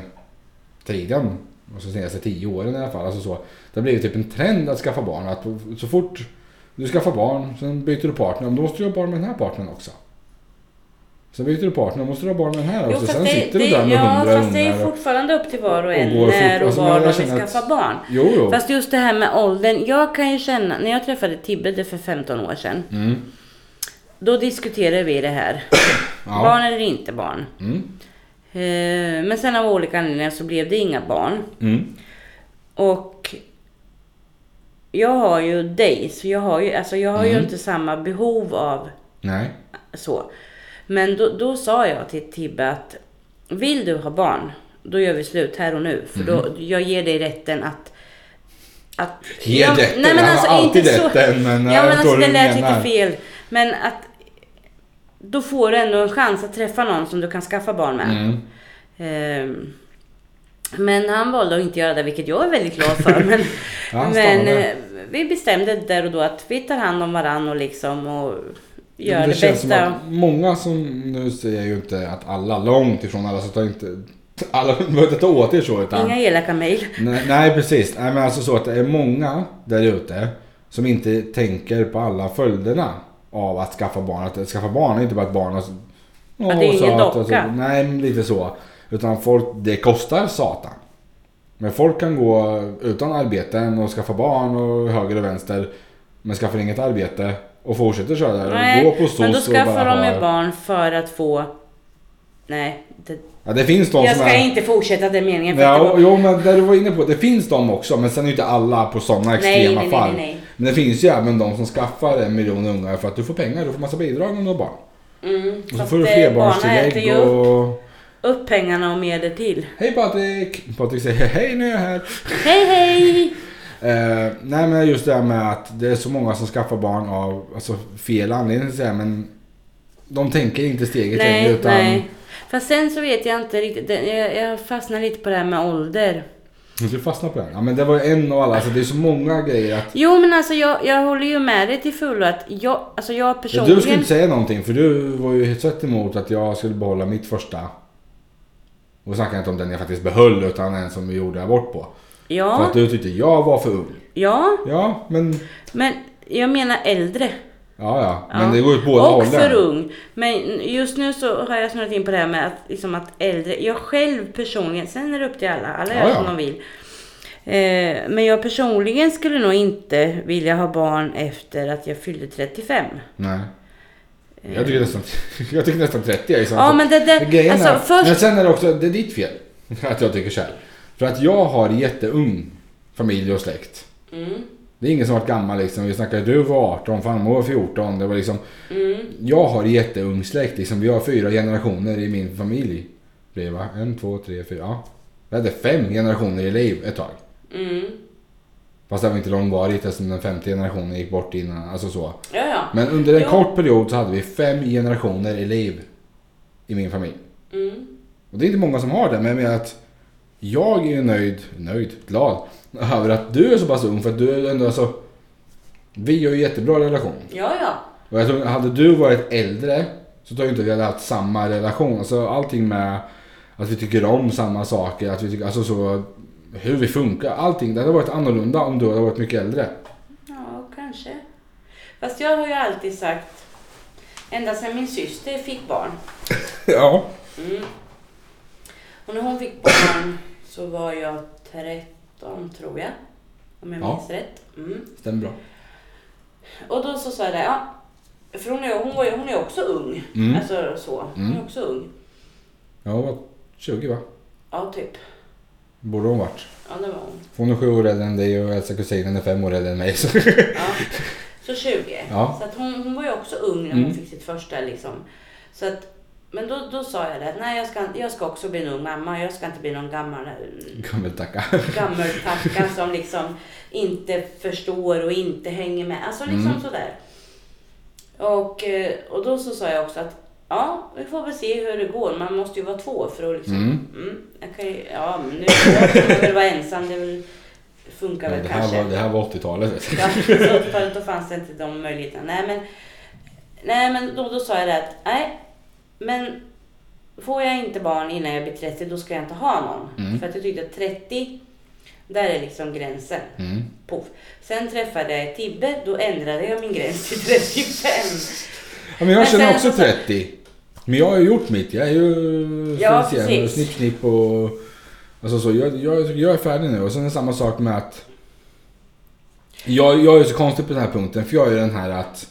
Speaker 1: tiden, alltså de senaste tio åren i alla fall, alltså så, det har blivit typ en trend att skaffa barn. Att så fort du skaffar barn, sen byter du partner, men då måste du ha barn med den här partnern också. Sen byter du partner, då måste du ha barn med den här också. Alltså, sen sitter du där med
Speaker 2: ja,
Speaker 1: hundra
Speaker 2: fast det är
Speaker 1: ungar. och-
Speaker 2: fortfarande upp till var och en
Speaker 1: går fort-
Speaker 2: när och
Speaker 1: alltså,
Speaker 2: var
Speaker 1: jag
Speaker 2: de vill
Speaker 1: känner att-
Speaker 2: skaffa barn.
Speaker 1: Jo, jo.
Speaker 2: Fast just det här med åldern. Jag kan ju känna, när jag träffade Tibbe det för 15 år sedan.
Speaker 1: Mm.
Speaker 2: Då diskuterade vi det här.
Speaker 1: Ja.
Speaker 2: Barn eller inte barn.
Speaker 1: Mm.
Speaker 2: Eh, Men sen av olika anledningar så blev det inga barn.
Speaker 1: Mm.
Speaker 2: Och jag har ju dig, så jag har ju, alltså jag har ju
Speaker 1: Mm.
Speaker 2: inte samma behov av
Speaker 1: Nej.
Speaker 2: så. Men då, då sa jag till Tibbe att vill du ha barn, då gör vi slut här och nu. För
Speaker 1: Mm-hmm.
Speaker 2: då, jag ger dig rätten att... att
Speaker 1: Ge rätten, han har alltid rätten, men
Speaker 2: alltså,
Speaker 1: jag
Speaker 2: ja, men
Speaker 1: förstår
Speaker 2: alltså,
Speaker 1: hur
Speaker 2: det
Speaker 1: du
Speaker 2: lät
Speaker 1: menar.
Speaker 2: lite fel. Men att... Då får du ändå en chans att träffa någon som du kan skaffa barn med.
Speaker 1: Mm.
Speaker 2: Ehm, Men han valde att inte göra det, vilket jag är väldigt glad för. Men,
Speaker 1: Ja, han
Speaker 2: men
Speaker 1: stannade.
Speaker 2: eh, vi bestämde där och då att vi tar hand om varandra och liksom och gör
Speaker 1: Men
Speaker 2: det,
Speaker 1: det känns
Speaker 2: bästa.
Speaker 1: som att många som, nu säger jag ju inte att alla, långt ifrån alla, så tar inte, alla behöver inte ta åt er så utan.
Speaker 2: Inga elaka mejl.
Speaker 1: Nej, nej precis, nej men alltså så att det är många där ute som inte tänker på alla följderna av att skaffa barn. Att skaffa barn är inte bara ett barn och så,
Speaker 2: det är ingen
Speaker 1: söt och
Speaker 2: docka.
Speaker 1: nej, men lite så. Utan folk, det kostar satan. Men folk kan gå utan arbeten och skaffa barn och höger och vänster. Men skaffar inget arbete och fortsätter köra där och gå på
Speaker 2: Nej,
Speaker 1: SOS
Speaker 2: men då
Speaker 1: och bara
Speaker 2: skaffar de ju
Speaker 1: har...
Speaker 2: barn för att få... Nej, det,
Speaker 1: Ja, det finns de
Speaker 2: jag
Speaker 1: som
Speaker 2: ska
Speaker 1: är...
Speaker 2: inte fortsätta den meningen. För att det
Speaker 1: Ja,
Speaker 2: var...
Speaker 1: jo men där du var inne på, det finns de också men sen är ju inte alla på sådana
Speaker 2: nej,
Speaker 1: extrema
Speaker 2: nej, nej,
Speaker 1: fall.
Speaker 2: nej, nej.
Speaker 1: Men det finns ju även de som skaffar en miljon ungar för att du får pengar, du får massa bidrag om du har barn.
Speaker 2: Mm,
Speaker 1: Och så
Speaker 2: fast,
Speaker 1: får du
Speaker 2: eh, barnen äter ju
Speaker 1: flerbarnstillägg
Speaker 2: upp-
Speaker 1: och...
Speaker 2: upp pengarna och mer till.
Speaker 1: Hej Patrik! Patrik säger hej nu är jag här.
Speaker 2: Hej, hej!
Speaker 1: Eh, nej men just det här med att det är så många som skaffar barn av alltså, fel anledning så här, men de tänker inte steget längre utan...
Speaker 2: nej. Fast sen så vet jag inte riktigt. Det- Jag, jag fastnar lite på det här med ålder.
Speaker 1: Nu ska du fastna på den. Ja men det var ju en av alla, alltså, det är så många grejer att...
Speaker 2: Jo men alltså jag, jag håller ju med dig till fullo att jag, alltså jag personligen...
Speaker 1: Du skulle inte säga någonting för du var ju helt sett emot att jag skulle behålla mitt första. Och då snackar jag inte om den jag faktiskt behöll utan en som vi gjorde abort på. För
Speaker 2: Ja,
Speaker 1: att du tyckte jag var för ung.
Speaker 2: ja,
Speaker 1: Ja, men...
Speaker 2: men jag menar äldre.
Speaker 1: Ja, ja.
Speaker 2: Ja.
Speaker 1: Men det går ju åt båda
Speaker 2: Och
Speaker 1: hållen.
Speaker 2: för ung. Men just nu så har jag snurrat in på det här med att, liksom att äldre, jag själv personligen, sen är det upp till alla, alla gör
Speaker 1: Ja,
Speaker 2: som
Speaker 1: ja.
Speaker 2: de vill. Eh, men jag personligen skulle nog inte vilja ha barn efter att jag fyllde 35.
Speaker 1: Nej. Jag tycker nästan, jag tycker nästan 30 är ju sant.
Speaker 2: Eh, Ja men det där,
Speaker 1: Grejen
Speaker 2: alltså
Speaker 1: är,
Speaker 2: först
Speaker 1: Men sen är det också, det är ditt fel. Att jag tycker så här. För att jag har jätteung familj och släkt.
Speaker 2: Mm,
Speaker 1: Det är ingen som varit gammal liksom. Vi snackade, du var 18, farmor var 14. Det var liksom,
Speaker 2: mm,
Speaker 1: jag har jätteung släkt liksom. Vi har fyra generationer i min familj. Det är, va? En, två, tre, fyra. Ja. Vi hade fem generationer i liv ett tag.
Speaker 2: mm.
Speaker 1: Fast det var inte långvarigt eftersom den femte generationen gick bort innan. Alltså så.
Speaker 2: Ja, ja.
Speaker 1: Men under en
Speaker 2: Ja.
Speaker 1: kort period så hade vi fem generationer i liv i min familj.
Speaker 2: Mm.
Speaker 1: Och det är inte många som har det, men jag menar att jag är ju nöjd, nöjd, glad över att du är så pass ung för att du är ändå alltså... Vi har ju jättebra relation.
Speaker 2: Ja, ja.
Speaker 1: Och jag tror, hade du varit äldre så tror jag inte vi hade haft samma relation. Alltså allting med att vi tycker om samma saker, att vi tycker, alltså så... Hur vi funkar, allting. Det hade varit annorlunda om du hade varit mycket äldre.
Speaker 2: Ja, kanske. Fast jag har ju alltid sagt, ända sedan min syster fick barn.
Speaker 1: Ja.
Speaker 2: Mm. Och när hon fick barn så var jag 13 tror jag. Om jag
Speaker 1: Ja.
Speaker 2: minns rätt. Mm.
Speaker 1: Stämmer bra.
Speaker 2: Och då så sa jag det, ja. För hon är, hon, var, ju- hon är också ung.
Speaker 1: Mm.
Speaker 2: Alltså så. Hon är
Speaker 1: Mm.
Speaker 2: också ung.
Speaker 1: Ja, hon var 20 va?
Speaker 2: Ja, typ.
Speaker 1: Borde hon varit.
Speaker 2: Ja, det var hon.
Speaker 1: Hon är sju år äldre än dig och äldsta kusinen är fem år äldre än mig. Så.
Speaker 2: Ja. Så 20.
Speaker 1: Ja. Mm.
Speaker 2: Så att hon, hon var ju också ung när hon fick sitt första liksom. Så att, men då, då sa jag det att nej jag ska, jag ska också bli en ung mamma. Jag ska inte bli någon gammal
Speaker 1: Kan väl tacka.
Speaker 2: gammeltacka som liksom inte förstår och inte hänger med. Alltså liksom
Speaker 1: Mm.
Speaker 2: sådär. Och, eh, och då så sa jag också att ja, vi får väl se hur det går. Man måste ju vara två för att liksom. Mm. jag kan ju, ja, men nu jag kommer väl vara ensam. Det väl, funkar väl
Speaker 1: det,
Speaker 2: kanske.
Speaker 1: här var, det här var 80-talet.
Speaker 2: Ja, så för då fanns det inte de möjligheterna. Nej, men, nej, men då, då sa jag det att nej, men får jag inte barn innan jag blir 30 då ska jag inte ha någon.
Speaker 1: Mm.
Speaker 2: För att jag tyckte att 30, där är liksom gränsen.
Speaker 1: Mm.
Speaker 2: Puff. Sen träffade jag Tibbe, då ändrade jag min gräns till 35.
Speaker 1: Ja, men jag
Speaker 2: Men
Speaker 1: känner
Speaker 2: sen
Speaker 1: också
Speaker 2: så-
Speaker 1: 30. Men jag har ju gjort mitt. Jag är ju
Speaker 2: Ja,
Speaker 1: så att säga,
Speaker 2: precis.
Speaker 1: snipp snipp och... Alltså så, jag, jag, jag är färdig nu och sen är det samma sak med att... Jag, jag är så konstig på den här punkten för jag är den här att...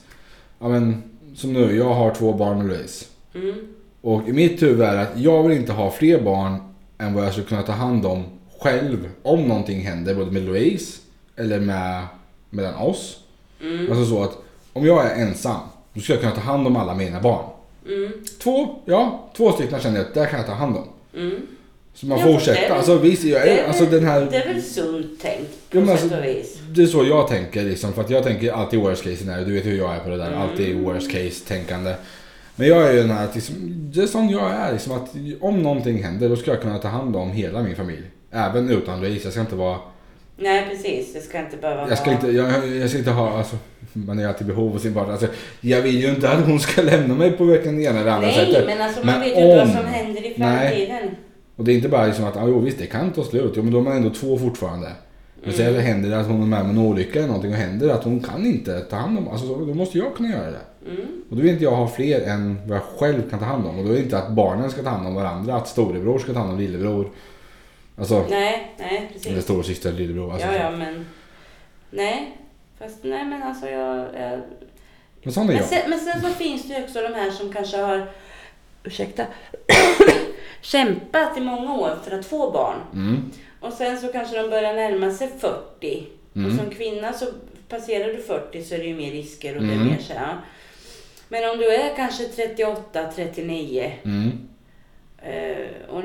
Speaker 1: Ja men, som nu, jag har två barn med Louise.
Speaker 2: Mm.
Speaker 1: Och i mitt huvud är att jag vill inte ha fler barn än vad jag skulle kunna ta hand om själv om någonting händer både med Louise eller med, mellan oss.
Speaker 2: mm,
Speaker 1: Alltså så att om jag är ensam då ska jag kunna ta hand om alla mina barn.
Speaker 2: Mm,
Speaker 1: Två, ja, två stycken känner jag att där kan jag ta hand om.
Speaker 2: mm.
Speaker 1: Så man
Speaker 2: Ja, det är
Speaker 1: fortsätter.
Speaker 2: väl-
Speaker 1: Alltså visst, jag
Speaker 2: Det
Speaker 1: är,
Speaker 2: är
Speaker 1: alltså
Speaker 2: väl-
Speaker 1: den här...
Speaker 2: Det är väl sunt tänkt
Speaker 1: Jo,
Speaker 2: på
Speaker 1: men
Speaker 2: sätt
Speaker 1: alltså-
Speaker 2: och vis.
Speaker 1: Det är så jag tänker liksom, för att jag tänker alltid worst case scenario. Du vet hur jag är på det där, alltid
Speaker 2: Mm.
Speaker 1: worst case tänkande. Men jag är ju den här, att liksom, det är sån jag är liksom att om någonting händer då ska jag kunna ta hand om hela min familj. Även utan Louise, jag ska inte vara,
Speaker 2: Nej, precis. Det ska inte behöva
Speaker 1: jag ska
Speaker 2: vara-
Speaker 1: inte, jag, jag ska inte ha, alltså man är alltid i behov av sin partner. Alltså, jag vill ju inte att hon ska lämna mig på varken det ena eller andra
Speaker 2: Nej,
Speaker 1: sättet.
Speaker 2: men alltså man
Speaker 1: Men
Speaker 2: vet ju inte vad
Speaker 1: om-
Speaker 2: som händer i
Speaker 1: Nej.
Speaker 2: framtiden.
Speaker 1: Och det är inte bara liksom att, ah, jo visst det kan ta slut, jo, men då är man ändå två fortfarande. Men
Speaker 2: Mm.
Speaker 1: säg att det händer att hon är med om en olycka eller någonting och händer att hon kan inte ta hand om, alltså så- då måste jag kunna göra det.
Speaker 2: Mm.
Speaker 1: Och då vill inte jag ha fler än vad jag själv kan ta hand om. Och då är det inte att barnen ska ta hand om varandra, att storebror ska ta hand om lillebror. Alltså,
Speaker 2: Nej, nej
Speaker 1: eller
Speaker 2: precis.
Speaker 1: storasyster eller lillebror. Alltså,
Speaker 2: ja,
Speaker 1: så.
Speaker 2: ja, men... Nej. Fast nej, men alltså jag... jag...
Speaker 1: Men sån är
Speaker 2: Men,
Speaker 1: jag.
Speaker 2: sen, men sen så finns det ju också de här som kanske har... Ursäkta. kämpat i många år för att få barn.
Speaker 1: Mm.
Speaker 2: Och sen så kanske de börjar närma sig 40.
Speaker 1: Mm.
Speaker 2: Och som kvinna så passerar du 40 så är det ju mer risker och det
Speaker 1: Mm.
Speaker 2: är mer så här. ja. Men om du är kanske 38, 39
Speaker 1: Mm.
Speaker 2: Eh, och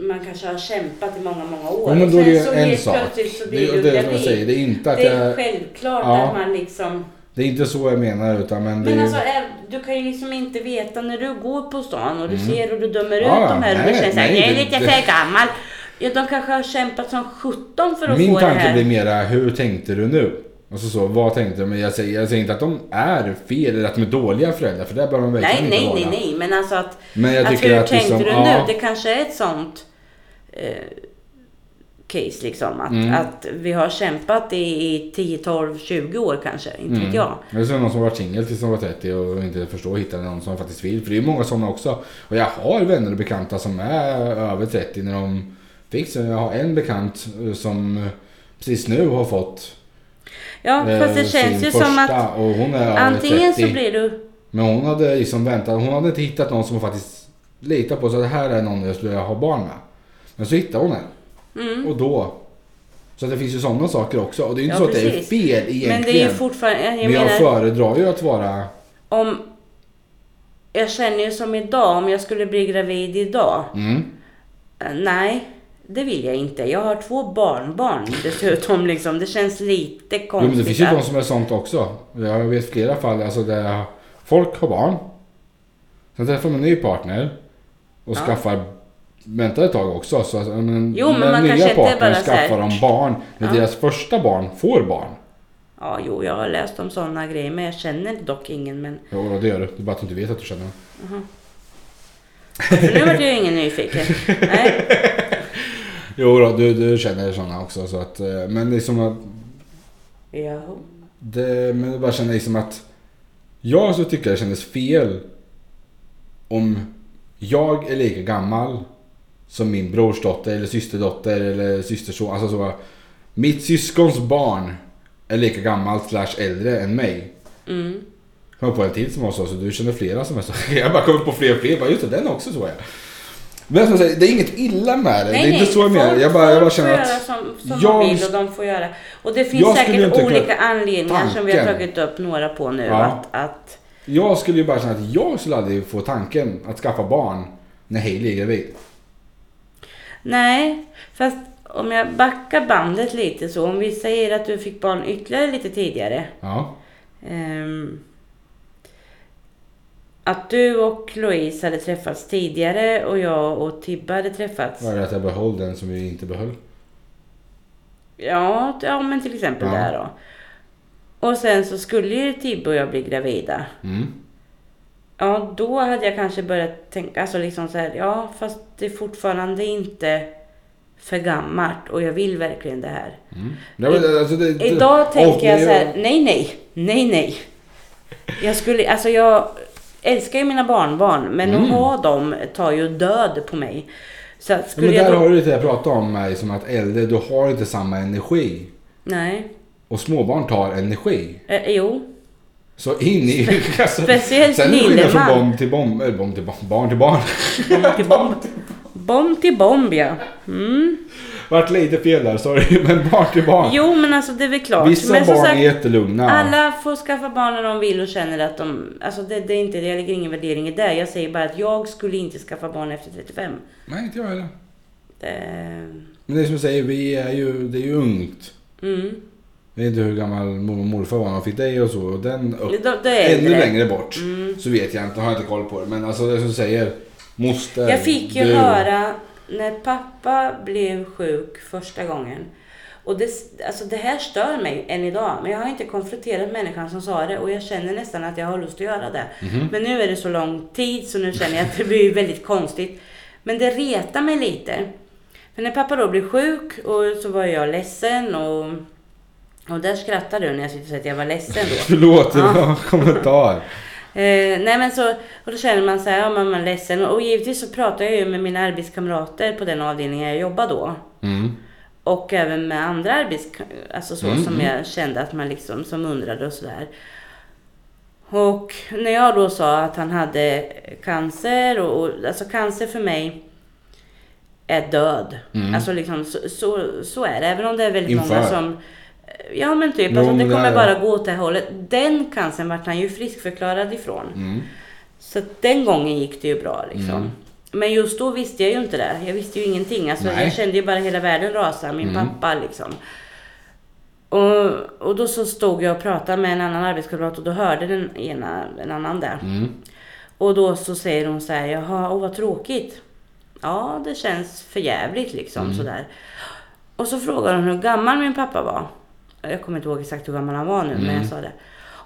Speaker 2: man kanske har kämpat i många, många år.
Speaker 1: Ja, men då är
Speaker 2: Och
Speaker 1: det
Speaker 2: sen
Speaker 1: ju
Speaker 2: så
Speaker 1: en
Speaker 2: helt
Speaker 1: sak.
Speaker 2: plötsligt så
Speaker 1: Det
Speaker 2: blir
Speaker 1: är
Speaker 2: du
Speaker 1: det är som jag säger,
Speaker 2: gravid.
Speaker 1: det är inte att
Speaker 2: Det är
Speaker 1: jag,
Speaker 2: självklart
Speaker 1: Ja.
Speaker 2: att man liksom...
Speaker 1: det är inte så jag menar utan men det
Speaker 2: Men
Speaker 1: är
Speaker 2: alltså, är- du kan ju liksom inte veta när du går på stan och du ser och du dömer ut
Speaker 1: Mm. Ja,
Speaker 2: de här och
Speaker 1: nej,
Speaker 2: du känner såhär,
Speaker 1: nej,
Speaker 2: jag är
Speaker 1: det-
Speaker 2: lite
Speaker 1: det-
Speaker 2: för gammal. Ja, de kanske har kämpat som 17 för att
Speaker 1: Min
Speaker 2: få det
Speaker 1: tanke
Speaker 2: här.
Speaker 1: blir mera, hur tänkte du nu? Alltså så, vad tänkte du? Men jag säger, jag säger inte att de är fel eller att de är dåliga föräldrar, för där behöver de verkligen
Speaker 2: Nej,
Speaker 1: inte
Speaker 2: nej,
Speaker 1: vara.
Speaker 2: nej, nej, men alltså att...
Speaker 1: Men jag
Speaker 2: att
Speaker 1: tycker
Speaker 2: hur
Speaker 1: att
Speaker 2: tänkte
Speaker 1: liksom,
Speaker 2: du
Speaker 1: ja.
Speaker 2: nu? Det kanske är ett sånt eh, case liksom. Att,
Speaker 1: Mm.
Speaker 2: att vi har kämpat i, i 10, 12, 20 år kanske. Inte vet
Speaker 1: Mm.
Speaker 2: jag.
Speaker 1: Eller så är det någon som har varit singel tills de var 30 och inte förstår hittade någon som faktiskt vill. För det är ju många sådana också. Och jag har vänner och bekanta som är över 30 när de fick så Jag har en bekant eh, som precis nu har fått
Speaker 2: Ja,
Speaker 1: eh,
Speaker 2: fast det känns
Speaker 1: sin
Speaker 2: ju
Speaker 1: första
Speaker 2: som att
Speaker 1: och hon är över
Speaker 2: antingen
Speaker 1: 30.
Speaker 2: så blir du...
Speaker 1: Men hon hade liksom väntat, hon hade inte hittat någon som hon faktiskt litar på. Så det här är någon jag skulle vilja ha barn med. Men så hittade hon en.
Speaker 2: Mm.
Speaker 1: Och då. Så att det finns ju sådana saker också. Och det är ju inte
Speaker 2: Ja,
Speaker 1: så att
Speaker 2: precis.
Speaker 1: det är fel egentligen.
Speaker 2: Men det är ju fortfarande... Jag
Speaker 1: men jag
Speaker 2: menar,
Speaker 1: föredrar ju att vara...
Speaker 2: om... Jag känner ju som idag, om jag skulle bli gravid idag.
Speaker 1: Mm.
Speaker 2: Eh, Nej, det vill jag inte. Jag har två barnbarn dessutom liksom. Det känns lite konstigt.
Speaker 1: Jo, men det finns ju
Speaker 2: att-
Speaker 1: de som är sånt också. Jag vet flera fall alltså där folk har barn. Sen träffar de en ny partner. Och
Speaker 2: Ja.
Speaker 1: skaffar... Väntar ett tag också. Så, att, ja, men,
Speaker 2: Jo, men
Speaker 1: när
Speaker 2: man
Speaker 1: nya
Speaker 2: kanske inte
Speaker 1: partner
Speaker 2: bara så här-
Speaker 1: skaffar de barn. När
Speaker 2: Ja.
Speaker 1: deras första barn får barn.
Speaker 2: Ja, jo, jag har läst om sådana grejer, men jag känner dock ingen. Men...
Speaker 1: Jo, det gör du. Det är bara att du inte vet att du känner dem.
Speaker 2: För nu vart jag ju ingen nyfiken. Nej.
Speaker 1: Jo då, du, du känner sådana också. Så att, eh, men liksom att
Speaker 2: Jo.
Speaker 1: det, men jag bara känner liksom att jag så tycker det kändes fel om jag är lika gammal som min brors dotter eller systerdotter eller systerson. Alltså så, mitt syskons barn är lika gammalt slash äldre än mig.
Speaker 2: Mm.
Speaker 1: Jag kom på en till som var så, så du känner flera som är så. Jag bara kommer på fler och fler. Bara, just det, den är också så är. Men som sagt, det är inget illa med det.
Speaker 2: Nej,
Speaker 1: det är inte
Speaker 2: nej,
Speaker 1: så jag menar.
Speaker 2: folk-
Speaker 1: Jag bara, jag bara
Speaker 2: folk
Speaker 1: känner
Speaker 2: får göra
Speaker 1: att
Speaker 2: som, som
Speaker 1: jag-
Speaker 2: de vill och de får göra. Och det
Speaker 1: Jag
Speaker 2: finns
Speaker 1: skulle
Speaker 2: säkert
Speaker 1: inte kunna-
Speaker 2: olika anledningar som vi har
Speaker 1: Tanken.
Speaker 2: tagit upp några på nu.
Speaker 1: Ja.
Speaker 2: Att, att,
Speaker 1: jag skulle ju bara känna att jag skulle aldrig få tanken att skaffa barn när Hailey är gravid.
Speaker 2: nej, fast om jag backar bandet lite så. Om vi säger att du fick barn ytterligare lite tidigare.
Speaker 1: Ja.
Speaker 2: Ehm, att du och Louise hade träffats tidigare och jag och Tibbe hade träffats.
Speaker 1: Var det att jag behöll den som vi inte behöll?
Speaker 2: Ja, t- ja men till exempel
Speaker 1: Ja.
Speaker 2: där då. Och sen så skulle ju Tibbe och jag bli gravida.
Speaker 1: Mm.
Speaker 2: Ja, då hade jag kanske börjat tänka, alltså liksom så här, ja fast det är fortfarande inte för gammalt och jag vill verkligen det här.
Speaker 1: Mm. Ja, men, alltså, det, det-
Speaker 2: Idag
Speaker 1: och
Speaker 2: tänker jag
Speaker 1: det-
Speaker 2: så här, nej nej, nej nej. Jag skulle, alltså jag älskar ju mina barnbarn men att ha dem tar ju död på mig. Så att
Speaker 1: Mm. Ja,
Speaker 2: skulle
Speaker 1: men
Speaker 2: jag
Speaker 1: där
Speaker 2: då...
Speaker 1: har du lite det jag pratade om mig som att äldre, du har inte samma energi.
Speaker 2: Nej,
Speaker 1: Och småbarn tar energi.
Speaker 2: eh, jo.
Speaker 1: Så in i... Alltså,
Speaker 2: speciellt
Speaker 1: Sen är det skillnad från
Speaker 2: Lindemann.
Speaker 1: bomb till bomb, äh, bomb till bomb, barn till barn.
Speaker 2: Bomb till bomb. Bomb till bomb ja. Mm.
Speaker 1: Vart lite fel där, sorry. Men barn till barn.
Speaker 2: Jo men alltså det är väl klart.
Speaker 1: Vissa
Speaker 2: men
Speaker 1: barn
Speaker 2: som sagt,
Speaker 1: är jättelugna.
Speaker 2: Alla får skaffa barn när de vill och känner att de... Alltså det, det är inte, jag lägger ingen värdering i det. Jag säger bara att jag skulle inte skaffa barn efter 35.
Speaker 1: Nej, inte jag heller.
Speaker 2: Eh,
Speaker 1: Men det är som jag säger, vi är ju, det är ju ungt.
Speaker 2: mm.
Speaker 1: Jag vet inte hur gammal mormor och morfar var när de fick dig och så. Och den upp,
Speaker 2: Det, det är
Speaker 1: ännu
Speaker 2: äldre. Mm.
Speaker 1: längre bort. Så vet jag inte, har jag inte koll på det. Men alltså det är som jag säger, moster,
Speaker 2: Jag fick ju
Speaker 1: du.
Speaker 2: höra när pappa blev sjuk första gången. Och det, alltså det här stör mig än idag. Men jag har inte konfronterat människan som sa det och jag känner nästan att jag har lust att göra det. Men nu är det så lång tid så nu känner jag att det blir väldigt konstigt. Men det retar mig lite. För när pappa då blev sjuk och så var jag ledsen och, och där skrattar du när jag sitter och säger att jag var ledsen då.
Speaker 1: Förlåt, det
Speaker 2: Ja.
Speaker 1: var en kommentar.
Speaker 2: Eh, nej men så, och då känner man så här, ja man man är ledsen. Och, och givetvis så pratar jag ju med mina arbetskamrater på den avdelningen jag jobbar då.
Speaker 1: Mm.
Speaker 2: Och även med andra arbetskamrater, alltså så
Speaker 1: Mm,
Speaker 2: som jag kände att man liksom, som undrade och sådär. Och när jag då sa att han hade cancer och, och alltså cancer för mig är död.
Speaker 1: Mm.
Speaker 2: Alltså liksom så, så, så är det. Även om det är väldigt många
Speaker 1: Inför.
Speaker 2: som Ja men typ,
Speaker 1: Jo,
Speaker 2: alltså, det
Speaker 1: men det
Speaker 2: kommer
Speaker 1: är-
Speaker 2: bara gå åt det här hållet. Den cancern vart han ju friskförklarad ifrån.
Speaker 1: Mm.
Speaker 2: Så att den gången gick det ju bra liksom.
Speaker 1: Mm.
Speaker 2: Men just då visste jag ju inte det. Jag visste ju ingenting. Alltså,
Speaker 1: Nej.
Speaker 2: jag kände ju bara hela världen rasa. Min
Speaker 1: Mm.
Speaker 2: pappa liksom. Och, och då så stod jag och pratade med en annan arbetskamrat och då hörde den ena en annan det.
Speaker 1: Mm.
Speaker 2: Och då så säger hon så här, jaha, åh vad tråkigt. Ja, det känns för jävligt liksom sådär. Och så frågar hon hur gammal min pappa var. Jag kommer inte ihåg exakt hur gammal han var nu, men jag sa det.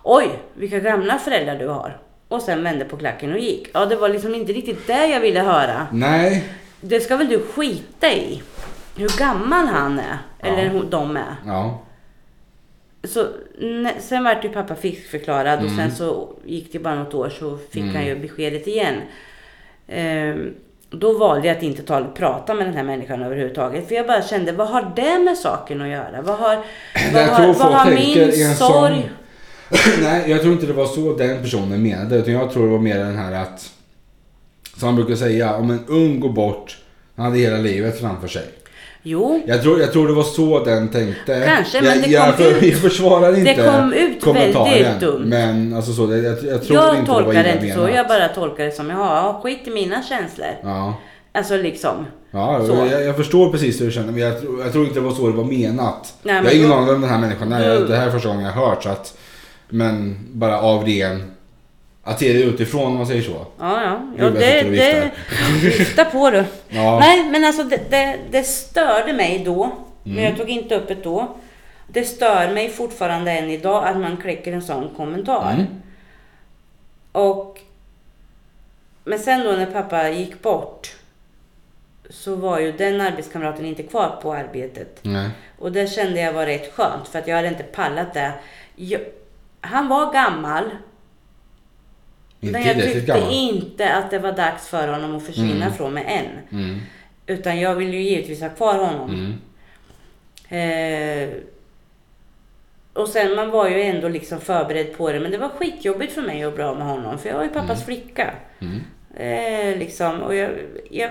Speaker 2: Oj, vilka gamla föräldrar du har. Och sen vände på klacken och gick. Ja, det var liksom inte riktigt det jag ville höra.
Speaker 1: Nej,
Speaker 2: Det ska väl du skita i. Hur gammal han är. Eller
Speaker 1: Ja.
Speaker 2: hur de är.
Speaker 1: ja.
Speaker 2: Så, ne- sen vart ju pappa friskförklarad och
Speaker 1: Mm.
Speaker 2: sen så gick det bara något år så fick han ju beskedet igen. Ehm, då valde jag att inte ta, prata med den här människan överhuvudtaget. För jag bara kände, vad har det med saken att göra? Vad har, vad
Speaker 1: jag
Speaker 2: har,
Speaker 1: tror
Speaker 2: vad
Speaker 1: folk
Speaker 2: har
Speaker 1: tänker i
Speaker 2: min sorg?
Speaker 1: en sån... Nej, jag tror inte det var så den personen menade. Utan jag tror det var mer den här att... Som han brukar säga, om en ung går bort, han hade hela livet framför sig.
Speaker 2: Jo,
Speaker 1: Jag tror, jag tror det var så den tänkte.
Speaker 2: Kanske,
Speaker 1: jag,
Speaker 2: men det
Speaker 1: jag,
Speaker 2: kom
Speaker 1: för,
Speaker 2: ut-
Speaker 1: Jag försvarar inte
Speaker 2: kom ut väldigt dumt.
Speaker 1: Men alltså så, det, jag, jag tror
Speaker 2: jag
Speaker 1: inte det var
Speaker 2: tolkar
Speaker 1: illa
Speaker 2: det inte så.
Speaker 1: menat.
Speaker 2: Jag bara tolkar det som, ja, skit i mina känslor.
Speaker 1: Ja,
Speaker 2: Alltså liksom.
Speaker 1: ja
Speaker 2: Så.
Speaker 1: jag, jag förstår precis hur du känner. Men jag, tror- jag tror inte det var så det var menat.
Speaker 2: Nej, men
Speaker 1: jag har ingen
Speaker 2: då-
Speaker 1: aning om den här människan är.
Speaker 2: Mm.
Speaker 1: Jag- Det här är första gången jag har hört. Så att, men bara av ren... Att se det utifrån om man säger så.
Speaker 2: Ja, ja.
Speaker 1: Gud,
Speaker 2: ja
Speaker 1: vad jag
Speaker 2: det,
Speaker 1: sitter och
Speaker 2: det, vifta på du.
Speaker 1: Ja.
Speaker 2: Nej, men alltså det, det, det störde mig då.
Speaker 1: Mm.
Speaker 2: Men jag tog inte upp det då. Det stör mig fortfarande än idag att man kläcker en sån kommentar.
Speaker 1: Mm.
Speaker 2: Och... Men sen då när pappa gick bort så var ju den arbetskamraten inte kvar på arbetet.
Speaker 1: Nej.
Speaker 2: Och det kände jag var rätt skönt för att jag hade inte pallat det. Jag, han var gammal
Speaker 1: Inte
Speaker 2: men jag
Speaker 1: tillräckligt
Speaker 2: tyckte
Speaker 1: typ gammal.
Speaker 2: inte att det var dags för honom att försvinna från mig än.
Speaker 1: Mm.
Speaker 2: Utan jag vill ju givetvis ha kvar honom.
Speaker 1: Mm.
Speaker 2: Eh, och sen man var ju ändå liksom förberedd på det. Men det var skitjobbigt för mig att bli av med honom. För jag var ju pappas flicka.
Speaker 1: Mm.
Speaker 2: Eh, liksom, och jag, jag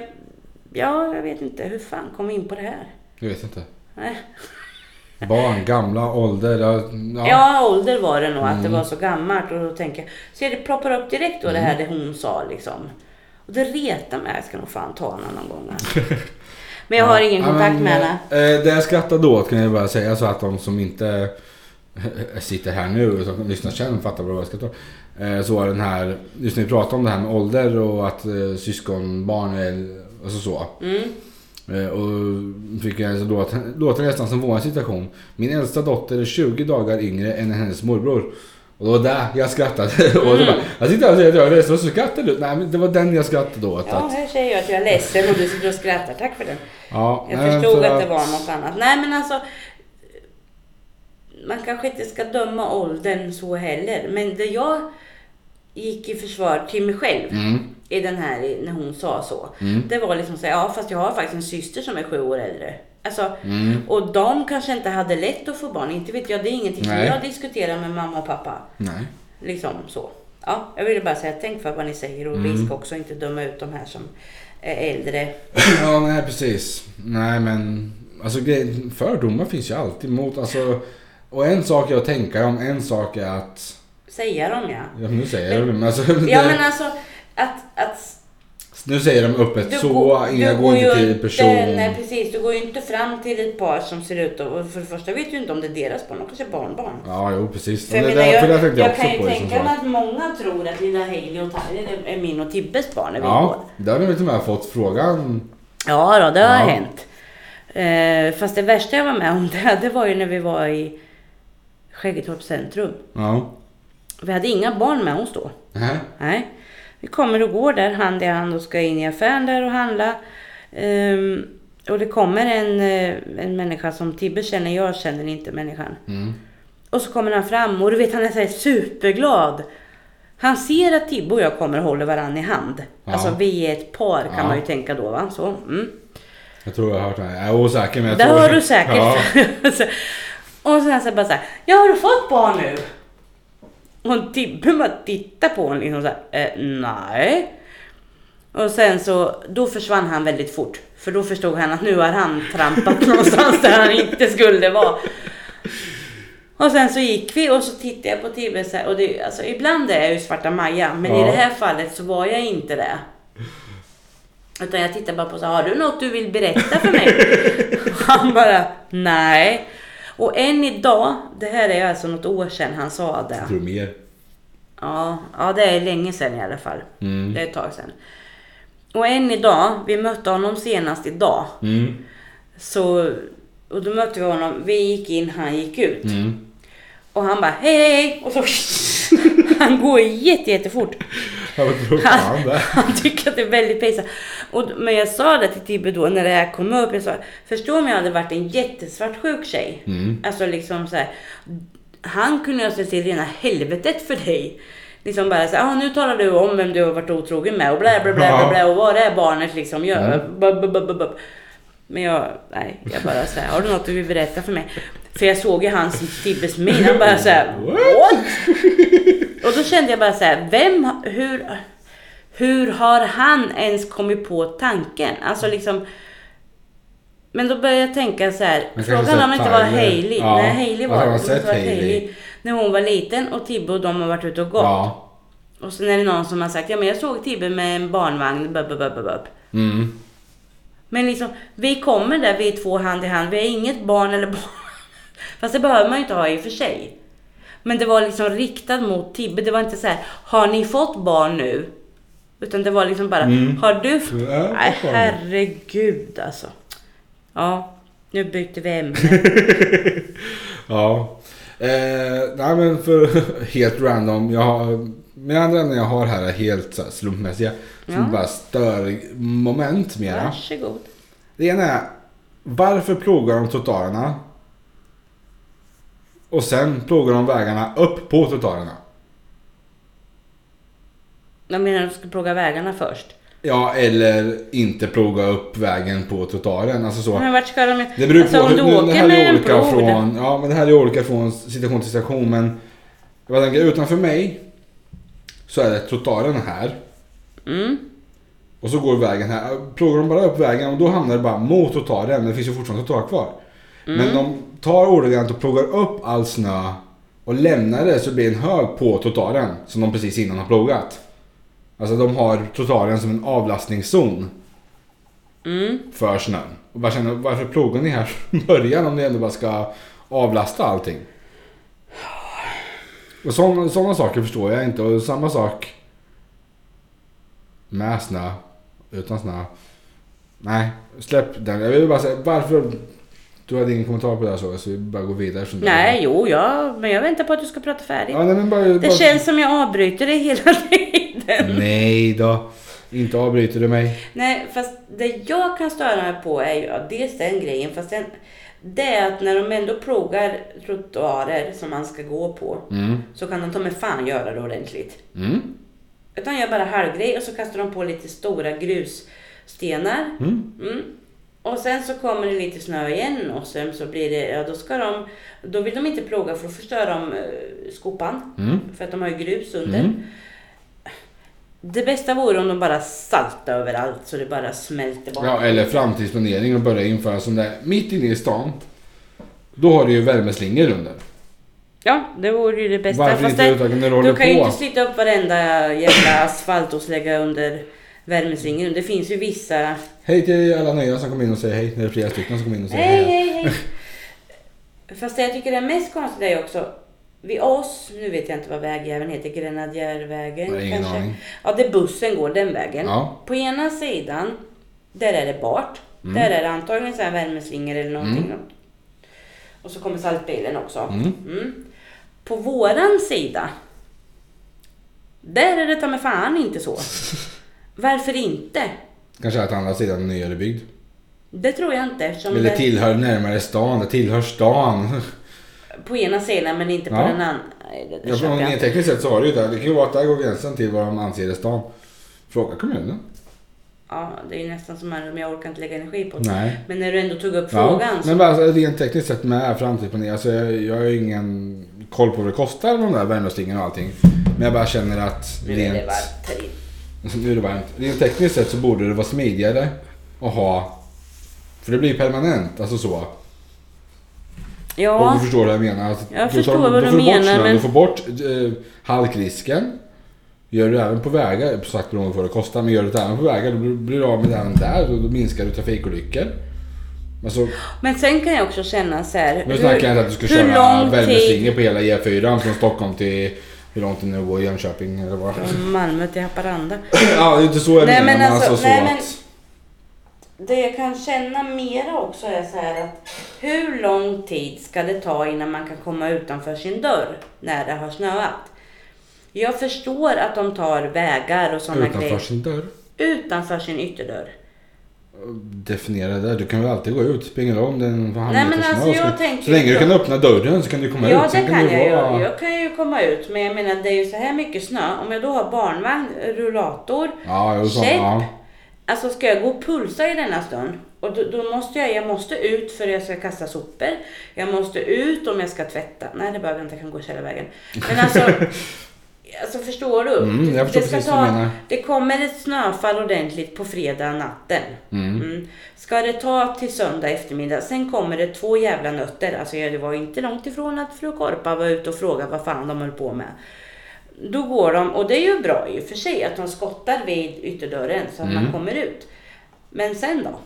Speaker 2: Ja, jag vet inte. Hur fan kom vi in på det här?
Speaker 1: Jag vet inte.
Speaker 2: Nej.
Speaker 1: Barn, gamla, ålder. Ja. Mm.
Speaker 2: Ja. ålder var det nog, att det var så gammalt. Och då tänker jag, så det ploppar upp direkt då det här
Speaker 1: Mm.
Speaker 2: det hon sa liksom. Och det retar mig. Jag ska nog fan ta henne någon gång. alltså. Men jag har ingen
Speaker 1: Ja, men,
Speaker 2: kontakt med henne.
Speaker 1: eh, Det jag skrattade åt kan jag bara säga så att de som inte eh, sitter här nu och som lyssnar sen fattar vad jag skrattar åt. Eh, Så var den här, just när vi pratade om det här med ålder och att eh, syskonbarn är, alltså så.
Speaker 2: Mm.
Speaker 1: Eh, Och fick jag alltså låta, låta nästan som vår situation. Min äldsta dotter är 20 dagar yngre än hennes morbror. Och det var där jag skrattade. Och
Speaker 2: Mm.
Speaker 1: så bara, jag sitter här och säger att jag är ledsen och så skrattar du. Nej men det var den jag skrattade åt.
Speaker 2: Ja,
Speaker 1: att-
Speaker 2: här säger jag att jag är ledsen och du sitter och skrattar. Tack för det.
Speaker 1: ja,
Speaker 2: Jag
Speaker 1: nej,
Speaker 2: förstod
Speaker 1: för
Speaker 2: att det var något annat. Nej men alltså. Man kanske inte ska döma åldern så heller. Men det jag gick i försvar till mig själv.
Speaker 1: Mm,
Speaker 2: I den här, när hon sa så.
Speaker 1: Mm.
Speaker 2: Det var liksom så här, ja fast jag har faktiskt en syster som är sju år äldre. Alltså,
Speaker 1: mm.
Speaker 2: och de kanske inte hade lätt att få barn. Inte vet jag, det är ingenting
Speaker 1: Nej.
Speaker 2: som jag diskuterar med mamma och pappa.
Speaker 1: Nej.
Speaker 2: Liksom så. Ja, jag ville bara säga, tänk för vad ni säger och
Speaker 1: Mm.
Speaker 2: vi ska också inte döma ut de här som är äldre.
Speaker 1: Ja, nej precis. Nej men, alltså grej- fördomar finns ju alltid mot, alltså. Och en sak jag tänker om, en sak är att,
Speaker 2: Säga dem ja.
Speaker 1: ja, nu säger jag det, men alltså.
Speaker 2: Ja
Speaker 1: det,
Speaker 2: men alltså, att, att
Speaker 1: Nu säger de öppet så, jag
Speaker 2: du
Speaker 1: går inte
Speaker 2: ju
Speaker 1: till person.
Speaker 2: Nej precis, du går ju inte fram till ett par som ser ut att- och för det första vet du inte om det är deras barn, de kanske är barnbarn.
Speaker 1: Ja, jo precis.
Speaker 2: För jag,
Speaker 1: det,
Speaker 2: menar,
Speaker 1: för
Speaker 2: jag,
Speaker 1: det
Speaker 2: jag,
Speaker 1: tänkte jag, också
Speaker 2: kan ju
Speaker 1: på. liksom
Speaker 2: tänka
Speaker 1: så.
Speaker 2: mig att många tror att lilla Hailey och Tyler är, är min och Tibbes barn när vi går.
Speaker 1: Ja, där har vi till och med fått frågan.
Speaker 2: Ja då, det har
Speaker 1: Ja.
Speaker 2: hänt. Eh, fast det värsta jag var med om det, det var ju när vi var i Skäggetorp centrum.
Speaker 1: Ja.
Speaker 2: Vi hade inga barn med oss då.
Speaker 1: Nähä.
Speaker 2: Nej. Vi kommer och går där hand i hand och ska in i affären där och handla. Ehm, och det kommer en, eh, en människa som Tibbe känner, jag känner inte människan.
Speaker 1: Mm.
Speaker 2: Och så kommer han fram och du vet han är så här superglad. Han ser att Tibbe och jag kommer och håller varandra i hand.
Speaker 1: Ja.
Speaker 2: Alltså vi är ett par kan
Speaker 1: Ja.
Speaker 2: man ju tänka då va. Så, mm.
Speaker 1: Jag tror jag har hört den. här. Jag är osäker men jag
Speaker 2: Det
Speaker 1: tror...
Speaker 2: har du säkert.
Speaker 1: Ja.
Speaker 2: Så- och sen så bara så här, ja har du fått barn nu? Och Tibbe bara tittar på honom liksom så här, eh, nej. Och sen så, då försvann han väldigt fort. För då förstod han att nu har han trampat någonstans där han inte skulle vara. Och sen så gick vi och så tittade jag på Tibbe så här, och det, alltså, ibland är jag ju svarta Maja, men
Speaker 1: Ja.
Speaker 2: i det här fallet så var jag inte det. Utan jag tittar bara på så här, har du något du vill berätta för mig? han bara, nej. Och än idag, det här är alltså något år sedan han sa det.
Speaker 1: Jag tror mer.
Speaker 2: Ja, ja det är länge sedan i alla fall.
Speaker 1: Mm.
Speaker 2: Det är ett tag sedan. Och än idag, vi mötte honom senast idag.
Speaker 1: Mm.
Speaker 2: Så, och då mötte vi honom, vi gick in, han gick ut.
Speaker 1: Mm.
Speaker 2: Och han bara hej hej! Och så Han går jätte, jättefort.
Speaker 1: Jag tror fan det.
Speaker 2: Han tycker att det är väldigt pinsamt. Och, men jag sa det till Tibbe då när det här kom upp. Jag sa, förstå om jag hade varit en jättesvartsjuk tjej.
Speaker 1: Mm.
Speaker 2: Alltså liksom så här. Han kunde ju ha sett till rena helvetet för dig. Liksom bara så här, ah, nu talar du om vem du har varit otrogen med och bla bla bla bla, bla och vad det är barnet liksom gör.
Speaker 1: Mm.
Speaker 2: Bub, bub, bub, bub, bub. Men jag, nej, jag bara så här, har du något du vill berätta för mig? För jag såg ju hans, Tibbes min, han bara så här, Alltså, what? Och då kände jag bara så här, vem, hur, hur har han ens kommit på tanken? Alltså liksom, men då började jag tänka så här,
Speaker 1: Men kanske
Speaker 2: frågan
Speaker 1: så
Speaker 2: om det inte var
Speaker 1: Tyler.
Speaker 2: Hailey.
Speaker 1: Ja.
Speaker 2: Nej, Hailey var
Speaker 1: Har
Speaker 2: det.
Speaker 1: man
Speaker 2: måste
Speaker 1: sett
Speaker 2: ha varit
Speaker 1: Hailey?
Speaker 2: Hailey När hon var liten och Tibbe och de har varit ute och gått.
Speaker 1: Ja.
Speaker 2: Och sen är det någon som har sagt, ja men jag såg Tibbe med en barnvagn, bub, bub, bub, bub, bub.
Speaker 1: Mm.
Speaker 2: Men liksom, vi kommer där vi är två hand i hand. Vi är inget barn eller barn. Fast det behöver man ju inte ha i och för sig. Men det var liksom riktat mot Tibbe. Det var inte så här, har ni fått barn nu? Utan det var liksom bara,
Speaker 1: Mm.
Speaker 2: har du f-
Speaker 1: Ja, jag har fått
Speaker 2: Nej,
Speaker 1: barn.
Speaker 2: herregud alltså. Ja, nu byter vi ämne.
Speaker 1: Ja. Eh, nej men för helt random. Jag har, mina andra ämnen jag har här är helt så här slumpmässiga. Som
Speaker 2: Ja.
Speaker 1: bara stör moment mera.
Speaker 2: Varsågod.
Speaker 1: Det ena är varför plogar de trottoarerna? Och sen plogar de vägarna upp på trottoarerna.
Speaker 2: Jag menar, de ska plåga vägarna först.
Speaker 1: Ja, eller inte ploga upp vägen på trottoaren. Alltså så.
Speaker 2: Men vart ska de...
Speaker 1: Det beror
Speaker 2: alltså,
Speaker 1: på.
Speaker 2: om du
Speaker 1: nu,
Speaker 2: åker
Speaker 1: det här
Speaker 2: med
Speaker 1: är
Speaker 2: en
Speaker 1: olika
Speaker 2: plog.
Speaker 1: från, ja, men det här är olika från situation till situation. Men jag tänker utanför mig så är det trottoaren här.
Speaker 2: Mm.
Speaker 1: Och så går vägen här. Plogar de bara upp vägen och då hamnar det bara mot och tar den. Men det finns ju fortfarande trottoar kvar.
Speaker 2: Mm.
Speaker 1: Men de tar ordagrant och plogar upp all snö och lämnar det så blir det en hög på trottoaren som de precis innan har plogat. Alltså de har trottoaren som en avlastningszon
Speaker 2: Mm.
Speaker 1: för snön. Och bara känner, varför plogar ni här från början om ni ändå bara ska avlasta allting? Och sådana såna saker förstår jag inte. Och samma sak med snö, utan snö. Nej, släpp den. Jag vill bara säga varför... Du hade ingen kommentar på det här så, så vi bara går vidare. eftersom du-
Speaker 2: Nej, jo, ja, men jag väntar på att du ska prata färdigt.
Speaker 1: Ja, nej, men bara,
Speaker 2: Det
Speaker 1: bara...
Speaker 2: känns som jag avbryter dig hela tiden.
Speaker 1: Nej då. Inte avbryter du mig.
Speaker 2: Nej, fast det jag kan störa mig på är ju ja, dels den grejen, fast sen, det är att när de ändå plogar trottoarer som man ska gå på,
Speaker 1: Mm.
Speaker 2: så kan de ta mig fan göra det ordentligt.
Speaker 1: Mm.
Speaker 2: Utan gör bara halvgrej och så kastar de på lite stora grusstenar.
Speaker 1: Mm.
Speaker 2: Mm. Och sen så kommer det lite snö igen och sen så blir det, ja då ska de, då vill de inte ploga för då förstör de eh, skopan.
Speaker 1: Mm.
Speaker 2: För att de har ju grus under.
Speaker 1: Mm.
Speaker 2: Det bästa vore om de bara saltade överallt så det bara smälter bort.
Speaker 1: Ja, eller framtidsplanering och börja införa sån där mitt inne i stan. Då har du ju värmeslingor under.
Speaker 2: Ja, det vore ju det bästa.
Speaker 1: Varför
Speaker 2: Fast
Speaker 1: inte
Speaker 2: det,
Speaker 1: utöka när du håller
Speaker 2: du kan ju
Speaker 1: på?
Speaker 2: inte slita upp varenda jävla asfalt och lägga under värmeslingor. Det finns ju vissa...
Speaker 1: Hej till alla nya som kommer in och säger hej. När det är flera stycken som kommer in och säger
Speaker 2: Hej,
Speaker 1: hej.
Speaker 2: hej, hej! Fast det jag tycker är mest konstigt är ju också vid oss, nu vet jag inte vad vägjäveln heter, Grenadjärvägen
Speaker 1: Nej, ingen
Speaker 2: kanske?
Speaker 1: aning.
Speaker 2: Ja, det bussen går den vägen.
Speaker 1: Ja. Mm.
Speaker 2: På ena sidan, där är det bart. Där är det antagligen så här värmeslingor eller någonting. Och så kommer saltbilen också.
Speaker 1: Mm.
Speaker 2: Mm. På våran sida, där är det ta mig fan inte så. Varför inte?
Speaker 1: Kanske att andra sidan nyare byggd.
Speaker 2: Det tror jag inte. Eftersom
Speaker 1: Eller
Speaker 2: det-
Speaker 1: tillhör närmare stan. Det tillhör stan.
Speaker 2: På ena sidan men inte på
Speaker 1: Ja.
Speaker 2: den andra. Nej, det där
Speaker 1: Ja,
Speaker 2: köper jag
Speaker 1: från
Speaker 2: inte.
Speaker 1: tekniskt sett så har du ju det. Det kan ju vara att där går gränsen till vad de anser är stan. Fråga kommunen.
Speaker 2: Ja, det är ju nästan som här, men jag orkar inte lägga energi på det.
Speaker 1: Nej.
Speaker 2: Men när du ändå tog upp
Speaker 1: Ja,
Speaker 2: frågan. Så,
Speaker 1: men bara alltså, rent tekniskt sett med framtidsplanering. Alltså, jag, jag har ju ingen koll på vad det kostar med de där värmeslingorna och allting. Men jag bara känner att
Speaker 2: nu är
Speaker 1: rent,
Speaker 2: det varmt här inne.
Speaker 1: nu är det varmt. Rent tekniskt sett så borde det vara smidigare att ha. För det blir ju permanent, alltså så. Om
Speaker 2: Ja,
Speaker 1: du förstår vad jag menar. Alltså,
Speaker 2: Jag
Speaker 1: då
Speaker 2: förstår
Speaker 1: tar-
Speaker 2: vad
Speaker 1: då
Speaker 2: du
Speaker 1: får bort
Speaker 2: menar,
Speaker 1: snön,
Speaker 2: men-
Speaker 1: Du får bort eh, halkrisken. Gör du det även på vägar, på sagt beroende på vad det kostar, men gör du det även på vägar då blir du av med det även där och då minskar du trafikolyckor. Alltså,
Speaker 2: men sen kan jag också känna så här.
Speaker 1: Nu snackar jag inte att du ska
Speaker 2: hur
Speaker 1: köra
Speaker 2: lång
Speaker 1: värmeslingor
Speaker 2: tid
Speaker 1: på hela E4 från Stockholm till hur långt det nu går, Jönköping eller vad.
Speaker 2: från Malmö till Haparanda?
Speaker 1: ja, det är inte så
Speaker 2: Nej,
Speaker 1: jag menar,
Speaker 2: men
Speaker 1: men
Speaker 2: alltså-
Speaker 1: alltså så
Speaker 2: nej, men-
Speaker 1: att...
Speaker 2: Det jag kan känna mera också är så här att hur lång tid ska det ta innan man kan komma utanför sin dörr när det har snöat? Jag förstår att de tar vägar och sådana
Speaker 1: Utanför
Speaker 2: grejer
Speaker 1: sin dörr.
Speaker 2: utanför sin ytterdörr.
Speaker 1: Definiera det där. Du kan ju alltid gå ut, springa om den för
Speaker 2: Nej, men alltså, jag
Speaker 1: så,
Speaker 2: tänker
Speaker 1: så länge du
Speaker 2: så.
Speaker 1: kan öppna dörren så kan du komma
Speaker 2: Ja,
Speaker 1: ut.
Speaker 2: det
Speaker 1: Sen
Speaker 2: kan
Speaker 1: du
Speaker 2: jag ju.
Speaker 1: vara-
Speaker 2: Jag kan ju komma ut, men jag menar det är ju så här mycket snö. Om jag då har barnvagn, rullator,
Speaker 1: Ja, jo, så,
Speaker 2: käpp.
Speaker 1: ja.
Speaker 2: Alltså ska jag gå och pulsa i denna stund? Och då, då måste jag, jag måste ut för jag ska kasta sopor. Jag måste ut om jag ska tvätta. Nej, det behöver jag inte, jag kan gå hela vägen. Men alltså, alltså förstår du?
Speaker 1: Mm, jag förstår
Speaker 2: det, ska
Speaker 1: precis vad du menar.
Speaker 2: det kommer ett snöfall ordentligt på fredag natten.
Speaker 1: Mm.
Speaker 2: Mm. Ska det ta till söndag eftermiddag, sen kommer det två jävla nötter. Alltså ja, det var inte långt ifrån att fru Korpa var ute och frågade vad fan de höll på med. Då går de, och det är ju bra i och för sig att de skottar vid ytterdörren så att
Speaker 1: Mm.
Speaker 2: man kommer ut. Men sen då?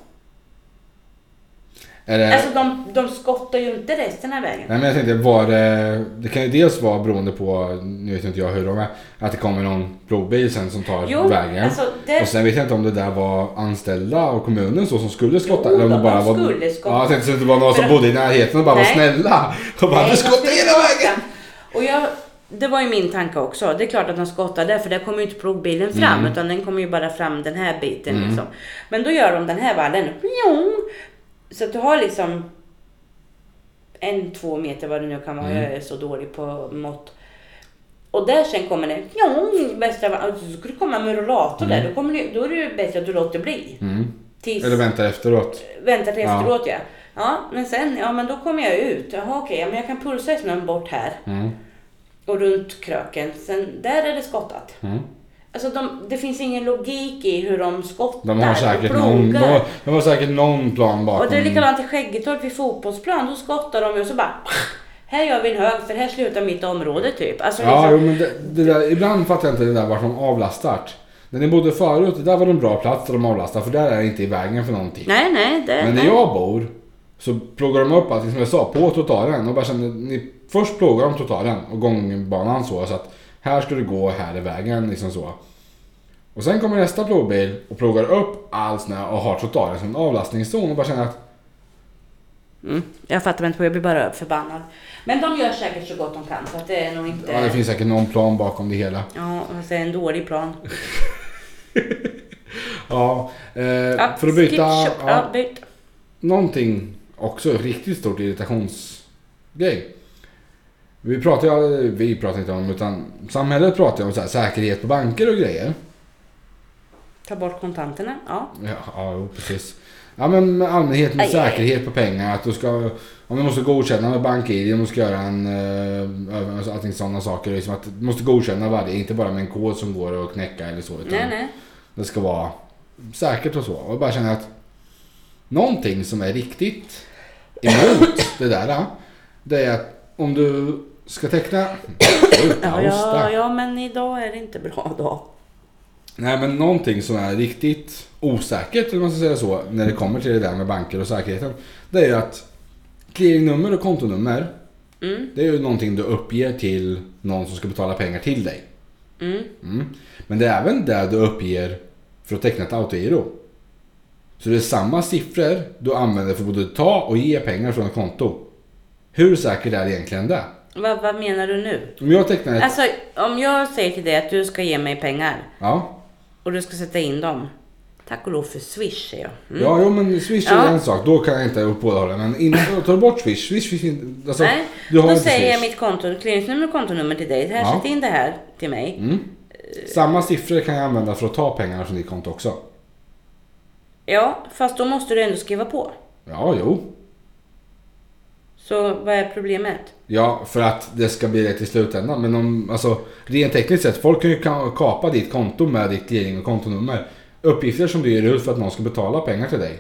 Speaker 1: Är det...
Speaker 2: Alltså de, de skottar ju inte resten av vägen.
Speaker 1: Nej men jag tänkte, var det, det kan ju dels vara beroende på, nu vet inte jag hur de är, att det kommer någon plogbil sen som tar
Speaker 2: Jo,
Speaker 1: vägen.
Speaker 2: alltså, det-
Speaker 1: Och sen vet jag inte om det där var anställda och kommunen så som skulle skotta.
Speaker 2: Jo,
Speaker 1: eller om det
Speaker 2: de
Speaker 1: bara var,
Speaker 2: skulle skotta.
Speaker 1: Ja, jag tänkte så att det var någon som
Speaker 2: För-
Speaker 1: bodde i närheten och bara var
Speaker 2: Nej.
Speaker 1: snälla. Och bara,
Speaker 2: Nej,
Speaker 1: du
Speaker 2: de
Speaker 1: skottar
Speaker 2: skulle
Speaker 1: hela vägen!
Speaker 2: skotta. Och jag, det var ju min tanke också. Det är klart att de skottade för där kommer ju inte plogbilen fram
Speaker 1: Mm.
Speaker 2: utan den kommer ju bara fram den här biten. Liksom. Men då gör de den här vallen. Pjong! Så att du har liksom en, två meter vad det nu kan vara.
Speaker 1: Mm.
Speaker 2: Jag är så dålig på mått. Och där sen kommer det pjong! Bästa, va- alltså, så ska du komma med rullator där. Då, kommer det, då är det ju bättre att du låter bli.
Speaker 1: Mm.
Speaker 2: Tills
Speaker 1: Eller vänta efteråt.
Speaker 2: väntar till
Speaker 1: Ja.
Speaker 2: efteråt ja. Ja, men sen, ja men då kommer jag ut. Jaha okej, ja, men jag kan pulsa i snön bort här
Speaker 1: Mm.
Speaker 2: och runt kröken. Sen där är det skottat.
Speaker 1: Mm.
Speaker 2: Alltså de, det finns ingen logik i hur de skottar
Speaker 1: De har, säkert någon, de, har, de har säkert någon plan bakom.
Speaker 2: Och det är likadant i Skäggetorp vid fotbollsplan. Då skottar de ju och så bara... Här gör vi en hög för här slutar mitt område typ. Alltså,
Speaker 1: Ja,
Speaker 2: liksom,
Speaker 1: jo, men det, det där, ibland fattar jag inte det där vart de avlastar. Där ni bodde förut, där var det en bra plats där de avlastar för där är det inte i vägen för någonting.
Speaker 2: Nej, nej. Det,
Speaker 1: Men när
Speaker 2: nej.
Speaker 1: jag bor så plogar de upp allting som jag sa på totalen och bara känner, ni, först plogar de totalen och gångbanan så, så att här ska du gå, här är vägen liksom så. Och sen kommer nästa plogbil och plogar upp all snö och har totalen som en avlastningszon och bara känner att
Speaker 2: Mm, jag fattar inte på, jag blir bara förbannad. Men de gör säkert så gott de kan så att det är nog inte...
Speaker 1: ja, det finns säkert någon plan bakom det hela.
Speaker 2: Ja, fast det är en dålig plan.
Speaker 1: Ja, eh,
Speaker 2: Ja,
Speaker 1: för att byta...
Speaker 2: Skip, shop,
Speaker 1: ja.
Speaker 2: ja, byt.
Speaker 1: Någonting också riktigt stort irritationsgrej. Vi pratar ju, vi pratar inte om, utan samhället pratar ju om så här, säkerhet på banker och grejer.
Speaker 2: Ta bort kontanterna. Ja.
Speaker 1: Ja, ja jo, precis. Ja men med allmänhet med
Speaker 2: Aj, aj, aj.
Speaker 1: säkerhet på pengar. Att du ska, om du måste godkänna med BankID, om du ska göra en, eh, över- alltså, allting sådana saker. Liksom att du måste godkänna varje, inte bara med en kod som går att knäcka eller så. Utan
Speaker 2: Nej, nej.
Speaker 1: det ska vara säkert och så. Och jag bara känner att någonting som är riktigt emot det där, det är att om du ska teckna... Oj,
Speaker 2: Ja,
Speaker 1: hosta.
Speaker 2: ja, ja, men idag är det inte bra dag.
Speaker 1: Nej, men någonting som är riktigt osäkert, om man ska säga så, när det kommer till det där med banker och säkerheten. Det är ju att clearingnummer och kontonummer,
Speaker 2: Mm,
Speaker 1: det är ju någonting du uppger till någon som ska betala pengar till dig.
Speaker 2: mm.
Speaker 1: Mm. Men det är även det du uppger för att teckna ett autogiro. Så det är samma siffror du använder för både att ta och ge pengar från ett konto. Hur säkert är egentligen det?
Speaker 2: Vad, vad menar du nu?
Speaker 1: Om jag tecknar ett...
Speaker 2: Alltså, om jag säger till dig att du ska ge mig pengar
Speaker 1: Ja,
Speaker 2: och du ska sätta in dem. Tack och lov för Swish, säger jag. Mm.
Speaker 1: ja jo, men Swish är
Speaker 2: Ja.
Speaker 1: en sak. Då kan jag inte upprätthålla. Men innan, tar du bort Swish, Swish finns inte... Alltså,
Speaker 2: Nej,
Speaker 1: du har
Speaker 2: då
Speaker 1: inte
Speaker 2: säger jag
Speaker 1: Swish.
Speaker 2: mitt konto, clearingsnummer och kontonummer till dig. Här,
Speaker 1: Ja. Mm.
Speaker 2: sätt in det här till mig.
Speaker 1: Samma siffror kan jag använda för att ta pengarna från ditt konto också.
Speaker 2: Ja, fast då måste du ändå skriva på.
Speaker 1: Ja, jo.
Speaker 2: Så vad är problemet?
Speaker 1: Ja, för att det ska bli rätt i slutändan. Men om, alltså, rent tekniskt sett, folk kan ju ka- kapa ditt konto med ditt clearing och kontonummer. Uppgifter som du ger ut för att någon ska betala pengar till dig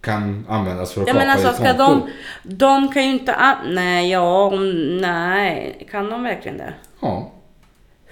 Speaker 1: kan användas för att
Speaker 2: Ja
Speaker 1: kapa
Speaker 2: men alltså
Speaker 1: ditt
Speaker 2: ska
Speaker 1: konto.
Speaker 2: de... De kan ju inte... a- Nej, ja, om- nej. Kan de verkligen det?
Speaker 1: Ja.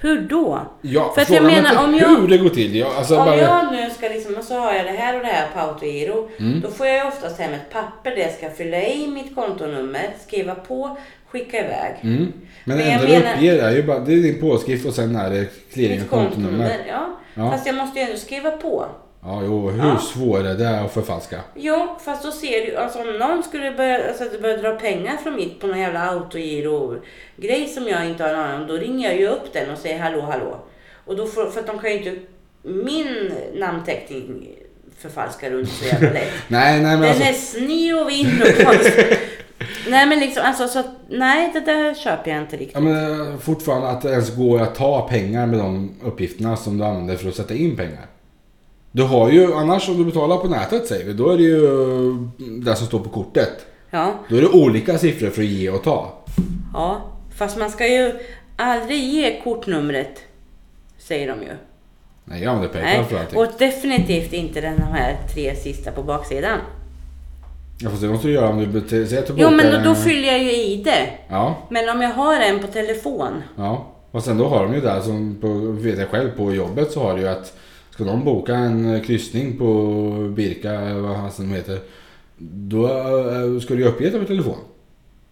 Speaker 2: Hur då?
Speaker 1: ja
Speaker 2: För att jag
Speaker 1: fråga mig
Speaker 2: menar,
Speaker 1: inte
Speaker 2: om
Speaker 1: hur
Speaker 2: jag-
Speaker 1: det går till. Jag, alltså,
Speaker 2: Om
Speaker 1: bara,
Speaker 2: jag nu ska liksom, och så har jag det här och det här på autogiro.
Speaker 1: Mm.
Speaker 2: Då får jag ju oftast hem ett papper där jag ska fylla i mitt kontonummer, skriva på, skicka iväg.
Speaker 1: mm. Men det
Speaker 2: Men jag
Speaker 1: enda du
Speaker 2: menar-
Speaker 1: uppger är ju bara, det är din påskrift och sen är det clearing och
Speaker 2: Mitt kontonummer,
Speaker 1: kontonummer.
Speaker 2: ja.
Speaker 1: Ja.
Speaker 2: Fast jag måste ju ändå skriva på.
Speaker 1: Ja, jo, hur
Speaker 2: Ja.
Speaker 1: svår är det att förfalska?
Speaker 2: Jo, fast då ser du alltså om någon skulle börja, alltså, att börja dra pengar från mitt på någon jävla autogiro-grej som jag inte har en aning om. Då ringer jag ju upp den och säger hallå, hallå. Och då får, för att de kan ju inte min namnteckning förfalska runt så jävla lätt.
Speaker 1: Nej, nej men
Speaker 2: Den
Speaker 1: alltså.
Speaker 2: är sned och vind och konstig. Nej men liksom, alltså så att, nej det där köper jag inte riktigt.
Speaker 1: Ja, men eh, fortfarande att det ens går att ta pengar med de uppgifterna som du använder för att sätta in pengar. Du har ju, annars om du betalar på nätet säger vi, då är det ju det som står på kortet.
Speaker 2: Ja,
Speaker 1: Då är det olika siffror för att ge och ta.
Speaker 2: ja. Fast man ska ju aldrig ge kortnumret. Säger de ju.
Speaker 1: Nej, jag använder Paypal
Speaker 2: Nej.
Speaker 1: för allting.
Speaker 2: Och definitivt inte den här tre sista på baksidan.
Speaker 1: Ja, fast det måste du göra om du bet- säger att du
Speaker 2: Jo men
Speaker 1: bokar
Speaker 2: då, då
Speaker 1: en-
Speaker 2: fyller jag ju i det.
Speaker 1: Ja,
Speaker 2: Men om jag har en på telefon.
Speaker 1: ja. Och sen då har de ju där som, på, vet jag själv, på jobbet så har du ju att ska de boka en eh, kryssning på Birka, eller vad han som heter, då eh, ska du ju uppge det på telefon.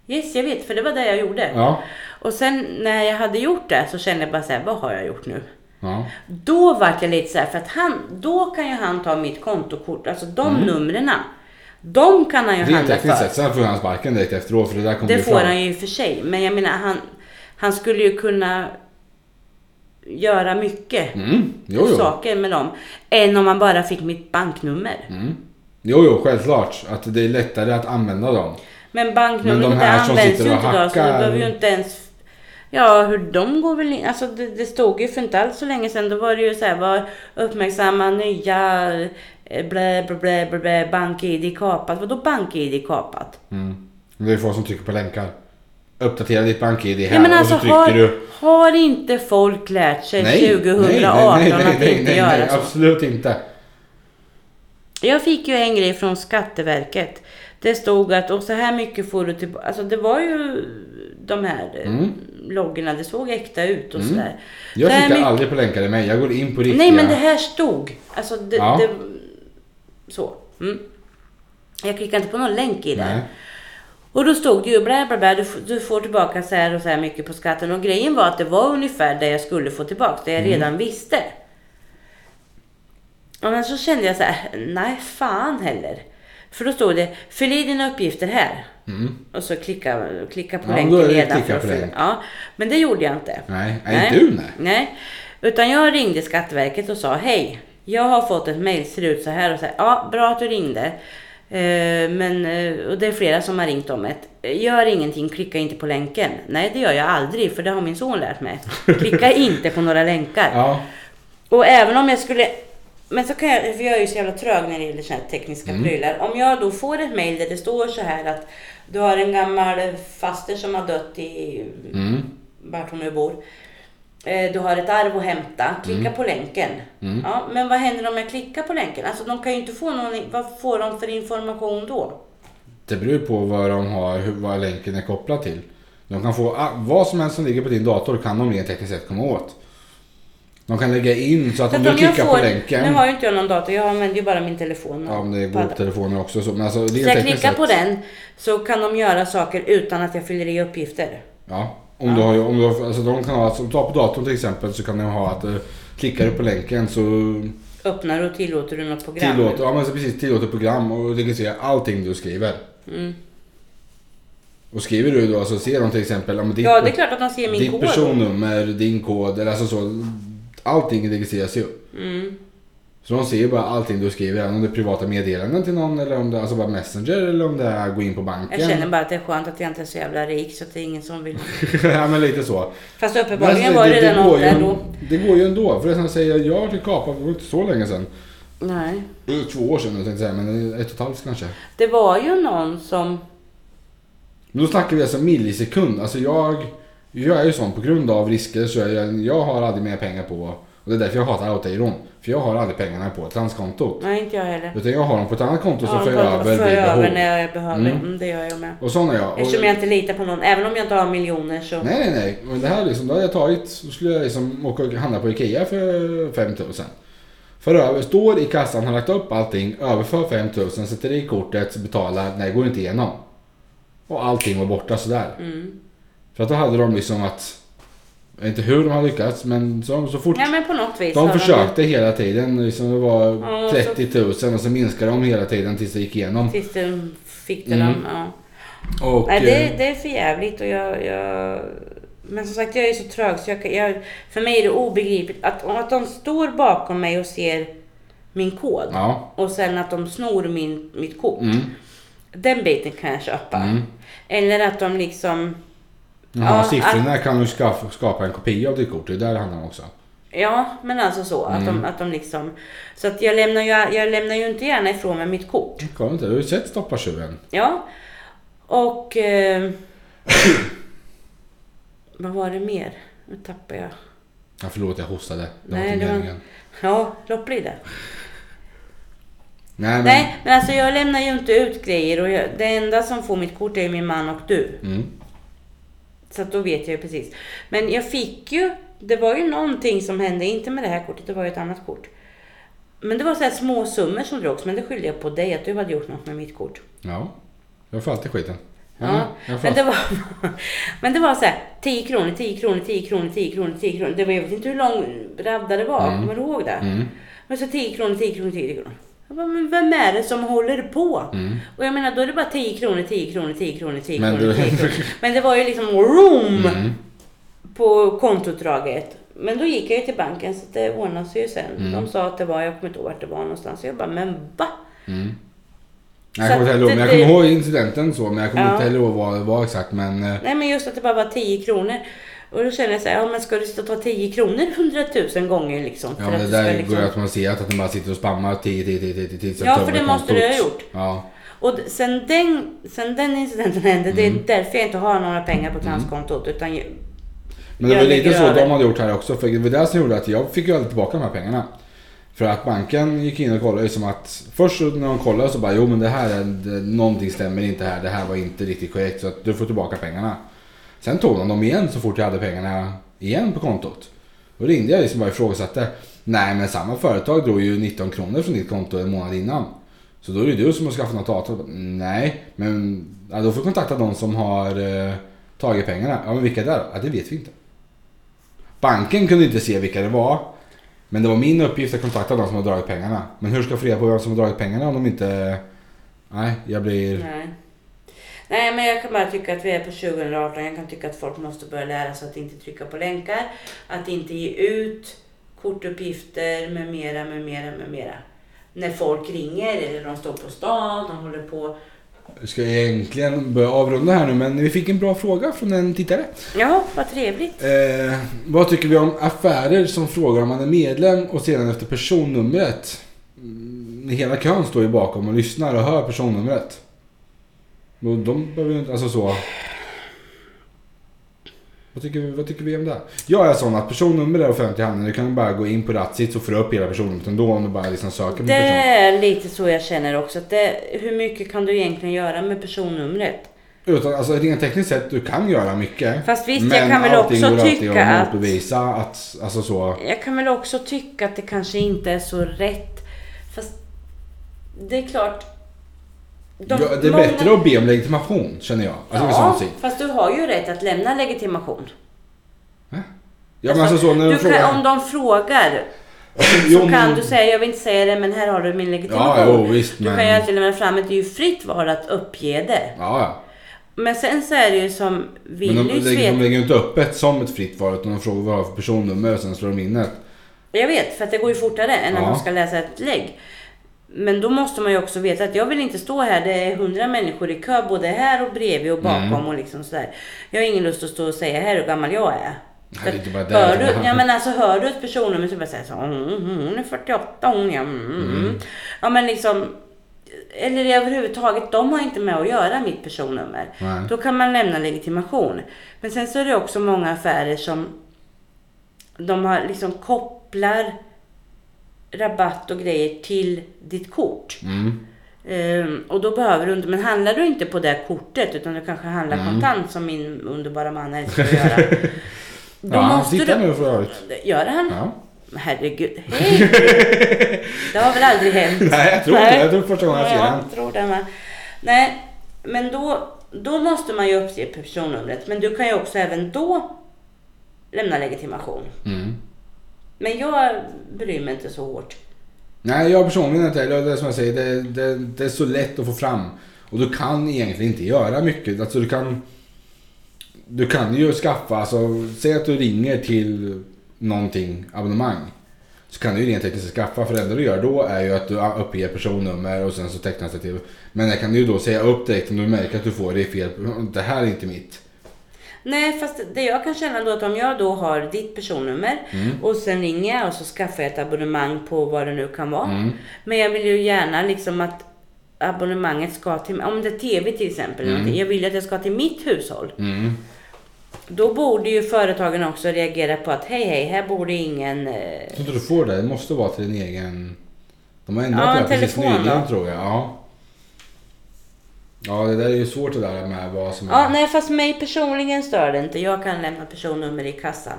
Speaker 2: Yes jag vet för det var det jag gjorde.
Speaker 1: Ja,
Speaker 2: Och sen när jag hade gjort det så kände jag bara så här, vad har jag gjort nu?
Speaker 1: ja.
Speaker 2: Då vart jag lite så här, för att han, då kan ju han ta mitt kontokort, alltså de numren. De kan han ju
Speaker 1: Rent
Speaker 2: handla
Speaker 1: tekniskt
Speaker 2: för.
Speaker 1: sett, sen får han sparken direkt efteråt för det där kommer
Speaker 2: Det
Speaker 1: ju
Speaker 2: får
Speaker 1: fram.
Speaker 2: han ju i och för sig. Men jag menar, han, han skulle ju kunna göra mycket
Speaker 1: Mm. Jo, jo.
Speaker 2: saker med dem. Än om han bara fick mitt banknummer.
Speaker 1: Mm. jo, jo, självklart. Att det är lättare att använda dem.
Speaker 2: Men
Speaker 1: Men de
Speaker 2: banknumret det
Speaker 1: här som
Speaker 2: används ju
Speaker 1: sitter och
Speaker 2: inte idag, så du
Speaker 1: hackar-
Speaker 2: behöver ju inte ens... Ja, hur de går väl in. Alltså det, det stod ju för inte alls så länge sedan. Då var det ju så här, var uppmärksamma nya eh, blä, blä, blä, blä, blä, bank-id kapat. Vadå bank-id kapat?
Speaker 1: Mm. Men Det är folk som trycker på länkar. Uppdatera ditt bank-id här
Speaker 2: Nej, men alltså,
Speaker 1: och så trycker
Speaker 2: har,
Speaker 1: du...
Speaker 2: har inte folk lärt sig 2018 att inte göra så?
Speaker 1: absolut inte.
Speaker 2: Jag fick ju en grej från Skatteverket. Det stod att och så här mycket får du tillbaka. Alltså det var ju de här mm. loggorna. Det såg äkta ut och sådär.
Speaker 1: Mm. Jag
Speaker 2: Det här
Speaker 1: tittar
Speaker 2: mycket-
Speaker 1: aldrig på länkar i mig. Jag går in på riktiga...
Speaker 2: Nej men det här stod. Alltså det,
Speaker 1: Ja.
Speaker 2: det Så. Mm. Jag klickade inte på någon länk i det.
Speaker 1: Nej.
Speaker 2: Och då stod det ju bla bla bla, du, f- du får tillbaka så här och så här mycket på skatten. Och grejen var att det var ungefär det jag skulle få tillbaka, det jag
Speaker 1: Mm.
Speaker 2: redan visste. Ja, men så kände jag så här, nej fan heller. För då stod det, fyll i dina uppgifter här. Och så klicka, klicka på
Speaker 1: Mm. Ja,
Speaker 2: länken
Speaker 1: då är det
Speaker 2: redan.
Speaker 1: klicka
Speaker 2: att
Speaker 1: på
Speaker 2: fylla-
Speaker 1: länk.
Speaker 2: ja, men det gjorde jag inte.
Speaker 1: Nej, nej, inte du, nej.
Speaker 2: Nej, utan jag ringde Skatteverket och sa hej. Jag har fått ett mejl, ser ut så här och så här. Ja, bra att du ringde. Eh, Men, eh, och det är flera som har ringt om det. Gör ingenting, klicka inte på länken. Nej, det gör jag aldrig, för det har min son lärt mig. Klicka inte på några länkar.
Speaker 1: Ja.
Speaker 2: Och även om jag skulle... Men så kan jag, för jag är ju så jävla trög när det gäller såna här tekniska
Speaker 1: Mm.
Speaker 2: prylar. Om jag då får ett mejl där det står så här att du har en gammal faster som har dött i...
Speaker 1: Mm.
Speaker 2: Vart hon nu bor. Eh, Du har ett arv att hämta. Klicka
Speaker 1: Mm.
Speaker 2: på länken. Ja, men vad händer om jag klickar på länken? Alltså de kan ju inte få någon... Vad får de för information då?
Speaker 1: Det beror på vad de har, hur- vad länken är kopplad till. De kan få ah, vad som helst som ligger på din dator kan de rent tekniskt sett komma åt. De kan lägga in så att om
Speaker 2: Att
Speaker 1: du
Speaker 2: om jag
Speaker 1: klickar
Speaker 2: får-
Speaker 1: på länken.
Speaker 2: Nu har ju inte jag någon dator. Jag använder ju bara min telefon.
Speaker 1: Ja, men det går
Speaker 2: Padda.
Speaker 1: på telefoner också. Så, men alltså, rent
Speaker 2: Så jag
Speaker 1: tekniskt
Speaker 2: klickar
Speaker 1: sett-
Speaker 2: på den så kan de göra saker utan att jag fyller i uppgifter.
Speaker 1: Ja. Om du har, om du har, alltså, de kan ha, alltså, om du tar på datorn till exempel så kan de ha att eh, klickar du på länken så
Speaker 2: Öppnar och tillåter du något program?
Speaker 1: tillåter, ja, men så precis, tillåter program och du kan se allting du skriver.
Speaker 2: Mm.
Speaker 1: Och skriver du då, alltså ser de till exempel, om ditt,
Speaker 2: Ja, det är klart att de ser min
Speaker 1: ditt
Speaker 2: kod.
Speaker 1: personnummer, din kod, eller alltså så. Allting registreras ju.
Speaker 2: Mm.
Speaker 1: Så de ser ju bara allting du skriver, även om det är privata meddelanden till någon eller om det alltså bara Messenger eller om det är gå in på banken.
Speaker 2: Jag känner bara att det är skönt att jag inte är så jävla rik så att det är ingen som vill.
Speaker 1: ja men lite så.
Speaker 2: Fast
Speaker 1: Men
Speaker 2: uppenbarligen
Speaker 1: alltså,
Speaker 2: var det, den
Speaker 1: går
Speaker 2: åt
Speaker 1: ju,
Speaker 2: där då.
Speaker 1: det går ju ändå. För det är som jag säger, jag har till Kapa för inte så länge sedan.
Speaker 2: Nej.
Speaker 1: Det är Två år sedan jag tänkte säga, men ett och ett halvt kanske.
Speaker 2: Det var ju någon som...
Speaker 1: Men då snackar vi alltså millisekund. Alltså jag, jag är ju sån på grund av risker så är jag, jag har aldrig mer pengar på, och det är därför jag hatar autoiron. För jag har aldrig pengarna på transkontot.
Speaker 2: Nej, inte jag heller.
Speaker 1: Utan jag har dem på ett annat konto som
Speaker 2: Ja,
Speaker 1: för
Speaker 2: bara
Speaker 1: över
Speaker 2: för
Speaker 1: vid
Speaker 2: över
Speaker 1: behov.
Speaker 2: när jag behöver.
Speaker 1: Mm.
Speaker 2: Mm. det gör jag med.
Speaker 1: Och sån är jag. Och,
Speaker 2: Eftersom jag inte litar på någon. Även om jag inte har miljoner så...
Speaker 1: Nej, nej, nej. Men det här liksom, då hade jag tagit, så skulle jag liksom åka och handla på IKEA för 5000. För över, står i kassan, har lagt upp allting, överför 5000, sätter i kortet, betalar, nej, går inte igenom. Och allting var borta sådär.
Speaker 2: Mm.
Speaker 1: För att då hade de liksom att, jag vet inte hur de har lyckats, men så, så fort
Speaker 2: Nej, men på något vis. har
Speaker 1: de försökte hela tiden, liksom det var
Speaker 2: Ja,
Speaker 1: 30 000 och så minskade de hela tiden tills det gick igenom.
Speaker 2: Tills de fick det
Speaker 1: Mm.
Speaker 2: dem. Ja.
Speaker 1: Och,
Speaker 2: Nej,
Speaker 1: eh,
Speaker 2: det, det är för jävligt och jag, jag... Men som sagt, jag är så trög så jag, kan- jag, för mig är det obegripligt att, att de står bakom mig och ser min kod
Speaker 1: Ja.
Speaker 2: och sen att de snor min, mitt kort.
Speaker 1: Mm.
Speaker 2: Den biten kan jag köpa.
Speaker 1: Mm.
Speaker 2: Eller att de liksom...
Speaker 1: Jaha,
Speaker 2: Ja,
Speaker 1: siffrorna kan du skapa, skapa en kopia av ditt kort, det är där det handlar om också.
Speaker 2: Ja, men alltså så. Att,
Speaker 1: Mm.
Speaker 2: de, att de liksom... Så att jag lämnar, ju, jag lämnar ju inte gärna ifrån mig mitt kort.
Speaker 1: Kolla inte, du har ju sett Stoppa tjuven.
Speaker 2: Ja. Och... Eh, vad var det mer? Nu tappar jag.
Speaker 1: Ja, förlåt, jag hostade. Det var
Speaker 2: Nej,
Speaker 1: inte
Speaker 2: det var-
Speaker 1: meningen. Mm.
Speaker 2: Ja, lopplida.
Speaker 1: Nej, men...
Speaker 2: Nej, men alltså jag lämnar ju inte ut grejer och jag, det enda som får mitt kort är ju min man och du.
Speaker 1: Mm.
Speaker 2: Så att då vet jag ju precis. Men jag fick ju, det var ju någonting som hände, inte med det här kortet, det var ju ett annat kort. Men det var så här små summor som drogs, men det skyllde jag på dig att du hade gjort något med mitt kort.
Speaker 1: Ja, jag får alltid skiten.
Speaker 2: Ja,
Speaker 1: Mm, jag
Speaker 2: men
Speaker 1: får alltid...
Speaker 2: det var, men det var så här 10 kronor, 10 kronor, 10 kronor, 10 kronor, 10 kronor. Det var, jag vet inte hur lång radda det var, kommer du ihåg det?
Speaker 1: Mm.
Speaker 2: Men så 10 kronor, 10 kronor, 10 kronor. Jag bara, men vem är det som håller på? Och jag menar, då är det bara 10 kronor, 10 kronor, 10 kronor, 10
Speaker 1: Mm. Men
Speaker 2: kronor,
Speaker 1: du- Mm.
Speaker 2: 10 kronor. Men det var ju liksom room på kontoutdraget. Men då gick jag ju till banken så att det ordnade sig ju sen.
Speaker 1: Mm.
Speaker 2: De sa att det var, jag kommer inte ihåg vart det var någonstans. Så jag bara, men va?
Speaker 1: Nej, jag kommer
Speaker 2: Så
Speaker 1: inte ihåg, men jag
Speaker 2: det-
Speaker 1: kommer ihåg incidenten så, men jag kommer
Speaker 2: Ja.
Speaker 1: inte heller ihåg vad det var exakt. Men eh,
Speaker 2: Nej men just att det bara var 10 kronor. Och då känner jag så här, ja men ska du sitta och ta 10 kronor 100 000 gånger liksom?
Speaker 1: ja, men
Speaker 2: att
Speaker 1: det
Speaker 2: du ska
Speaker 1: där
Speaker 2: liksom...
Speaker 1: går ju automatiserat att de bara sitter och spammar 10, 10, 10, 10, 10, 10
Speaker 2: Ja, för det måste du ha gjort.
Speaker 1: Ja,
Speaker 2: Och d- sen den, sen den incidenten hände, det
Speaker 1: Mm.
Speaker 2: är därför jag inte har några pengar på transkontot. Utan ju-
Speaker 1: Men det
Speaker 2: jag
Speaker 1: var lite
Speaker 2: lägger
Speaker 1: så
Speaker 2: över.
Speaker 1: de hade gjort här också. För det var det som gjorde att jag fick ju aldrig tillbaka de här pengarna. För att banken gick in och kollade ju som att först när de kollade så bara jo men det här är, det, någonting stämmer inte här. Det här var inte riktigt korrekt så att du får tillbaka pengarna. Sen tog de dem igen så fort jag hade pengarna igen på kontot. Då ringde jag liksom bara och ifrågasatte. Nej men samma företag drog ju 19 kronor från ditt konto en månad innan. Så då är det ju du som har skaffat något avtal. Nej, men ja, då får du kontakta någon som har eh, tagit pengarna. Ja men vilka det är då? Ja det vet vi inte. Banken kunde inte se vilka det var. Men det var min uppgift att kontakta de som har dragit pengarna. Men hur ska jag få reda på vem som har dragit pengarna om de inte... Nej, jag blir...
Speaker 2: Nej. Nej, men jag kan bara tycka att vi är på 2018. Jag kan tycka att folk måste börja lära sig att inte trycka på länkar, att inte ge ut kortuppgifter med mera, med mera, med mera. När folk ringer eller de står på stan, de håller på.
Speaker 1: Vi ska egentligen börja avrunda här nu men vi fick en bra fråga från en tittare.
Speaker 2: Ja, vad trevligt.
Speaker 1: Eh, vad tycker vi om affärer som frågar om man är medlem och sedan efter personnumret? Mm, Hela kön står ju bakom och lyssnar och hör personnumret. Och de behöver ju inte... Alltså så... Vad tycker, vi, vad tycker vi om det? här? Jag är sån att personnummer är offentlig handling. Du kan bara gå in på Ratsit och få upp hela personnumret ändå om du bara liksom söker på
Speaker 2: Det
Speaker 1: person.
Speaker 2: är lite så jag känner också. Att det, hur mycket kan du egentligen göra med personnumret?
Speaker 1: Utan, alltså, rent tekniskt sett, du kan göra mycket.
Speaker 2: Fast visst, jag kan väl
Speaker 1: allting
Speaker 2: också
Speaker 1: går alltid
Speaker 2: tycka
Speaker 1: att
Speaker 2: att-
Speaker 1: motbevisa att... Alltså så...
Speaker 2: Jag kan väl också tycka att det kanske inte är så rätt. Fast det är klart. de-
Speaker 1: ja, det är
Speaker 2: många-
Speaker 1: bättre att be om legitimation känner jag. Alltså, med sån
Speaker 2: Ja,
Speaker 1: syn.
Speaker 2: fast du har ju rätt att lämna legitimation.
Speaker 1: ja men alltså så när de
Speaker 2: du
Speaker 1: frågar... Alltså,
Speaker 2: kan, om de frågar
Speaker 1: Jo,
Speaker 2: så
Speaker 1: men-
Speaker 2: kan du säga, jag vill inte säga det men här har du min legitimation.
Speaker 1: Ja, jo, visst,
Speaker 2: du
Speaker 1: men-
Speaker 2: kan ju alltid lämna fram det, det är ju fritt val att uppge det.
Speaker 1: Ja, ja.
Speaker 2: Men sen så är det ju som
Speaker 1: Men de,
Speaker 2: Willys
Speaker 1: lägger, de
Speaker 2: vet.
Speaker 1: lägger ju inte öppet som ett fritt val utan de frågar vad jag har för personnummer och sen slår de in ett.
Speaker 2: Jag vet, för att det går ju fortare än när
Speaker 1: Ja.
Speaker 2: man ska läsa ett lägg. Men då måste man ju också veta att jag vill inte stå här, det är hundra människor i kö både här och bredvid och bakom
Speaker 1: Mm.
Speaker 2: och liksom sådär. Jag har ingen lust att stå och säga här hur gammal jag är.
Speaker 1: Nej,
Speaker 2: För
Speaker 1: det är inte bara
Speaker 2: att
Speaker 1: det.
Speaker 2: hör du, ja, men alltså, hör du ett personnummer så bara säger så, mm, mm, hon är 48 hon ja, mm, mm. ja men liksom, eller överhuvudtaget, de har inte med att göra mitt personnummer.
Speaker 1: Nej.
Speaker 2: Då kan man lämna legitimation. Men sen så är det också många affärer som de har liksom kopplar rabatt och grejer till ditt kort.
Speaker 1: Mm.
Speaker 2: Ehm, och då behöver du inte, men handlar du inte på det kortet utan du kanske handlar
Speaker 1: Mm.
Speaker 2: kontant som min underbara man älskar att göra. Då
Speaker 1: ja, han
Speaker 2: måste
Speaker 1: sitter
Speaker 2: du...
Speaker 1: nu för övrigt.
Speaker 2: Gör han?
Speaker 1: Ja.
Speaker 2: Herregud, hej! Det har väl aldrig hänt?
Speaker 1: Nej, jag tror inte det. Jag tror första gången jag ser
Speaker 2: Ja,
Speaker 1: den.
Speaker 2: jag tror det med. Nej, men då, då måste man ju uppge personnumret. Men du kan ju också även då lämna legitimation.
Speaker 1: Mm.
Speaker 2: Men jag bryr mig inte så hårt.
Speaker 1: Nej, jag personligen inte. Det är det som jag säger. Det, det, det är så lätt att få fram. Och du kan egentligen inte göra mycket. Alltså du kan... Du kan ju skaffa, alltså säg att du ringer till någonting, abonnemang. Så kan du ju rent tekniskt skaffa, för det enda du gör då är ju att du uppger personnummer och sen så tecknas det till. Men det kan du ju då säga upp direkt om du märker att du får det i fel, det här är inte mitt.
Speaker 2: Nej, fast det jag kan känna då att om jag då har ditt personnummer
Speaker 1: Mm.
Speaker 2: och sen ringer jag och så skaffar jag ett abonnemang på vad det nu kan vara.
Speaker 1: Mm.
Speaker 2: Men jag vill ju gärna liksom att abonnemanget ska till, om det är TV till exempel, eller någonting, jag vill att det ska till mitt hushåll.
Speaker 1: Mm.
Speaker 2: Då borde ju företagen också reagera på att hej hej, här borde ingen... eh,
Speaker 1: Jag tror inte du får det, det måste vara till din egen... De har ändrat
Speaker 2: Ja,
Speaker 1: det
Speaker 2: en
Speaker 1: här precis
Speaker 2: telefon
Speaker 1: nyligen
Speaker 2: då.
Speaker 1: tror jag. Ja. ja, det där är ju svårt det där med vad som
Speaker 2: Ja,
Speaker 1: är...
Speaker 2: nej fast mig personligen stör det inte. Jag kan lämna personnummer i kassan.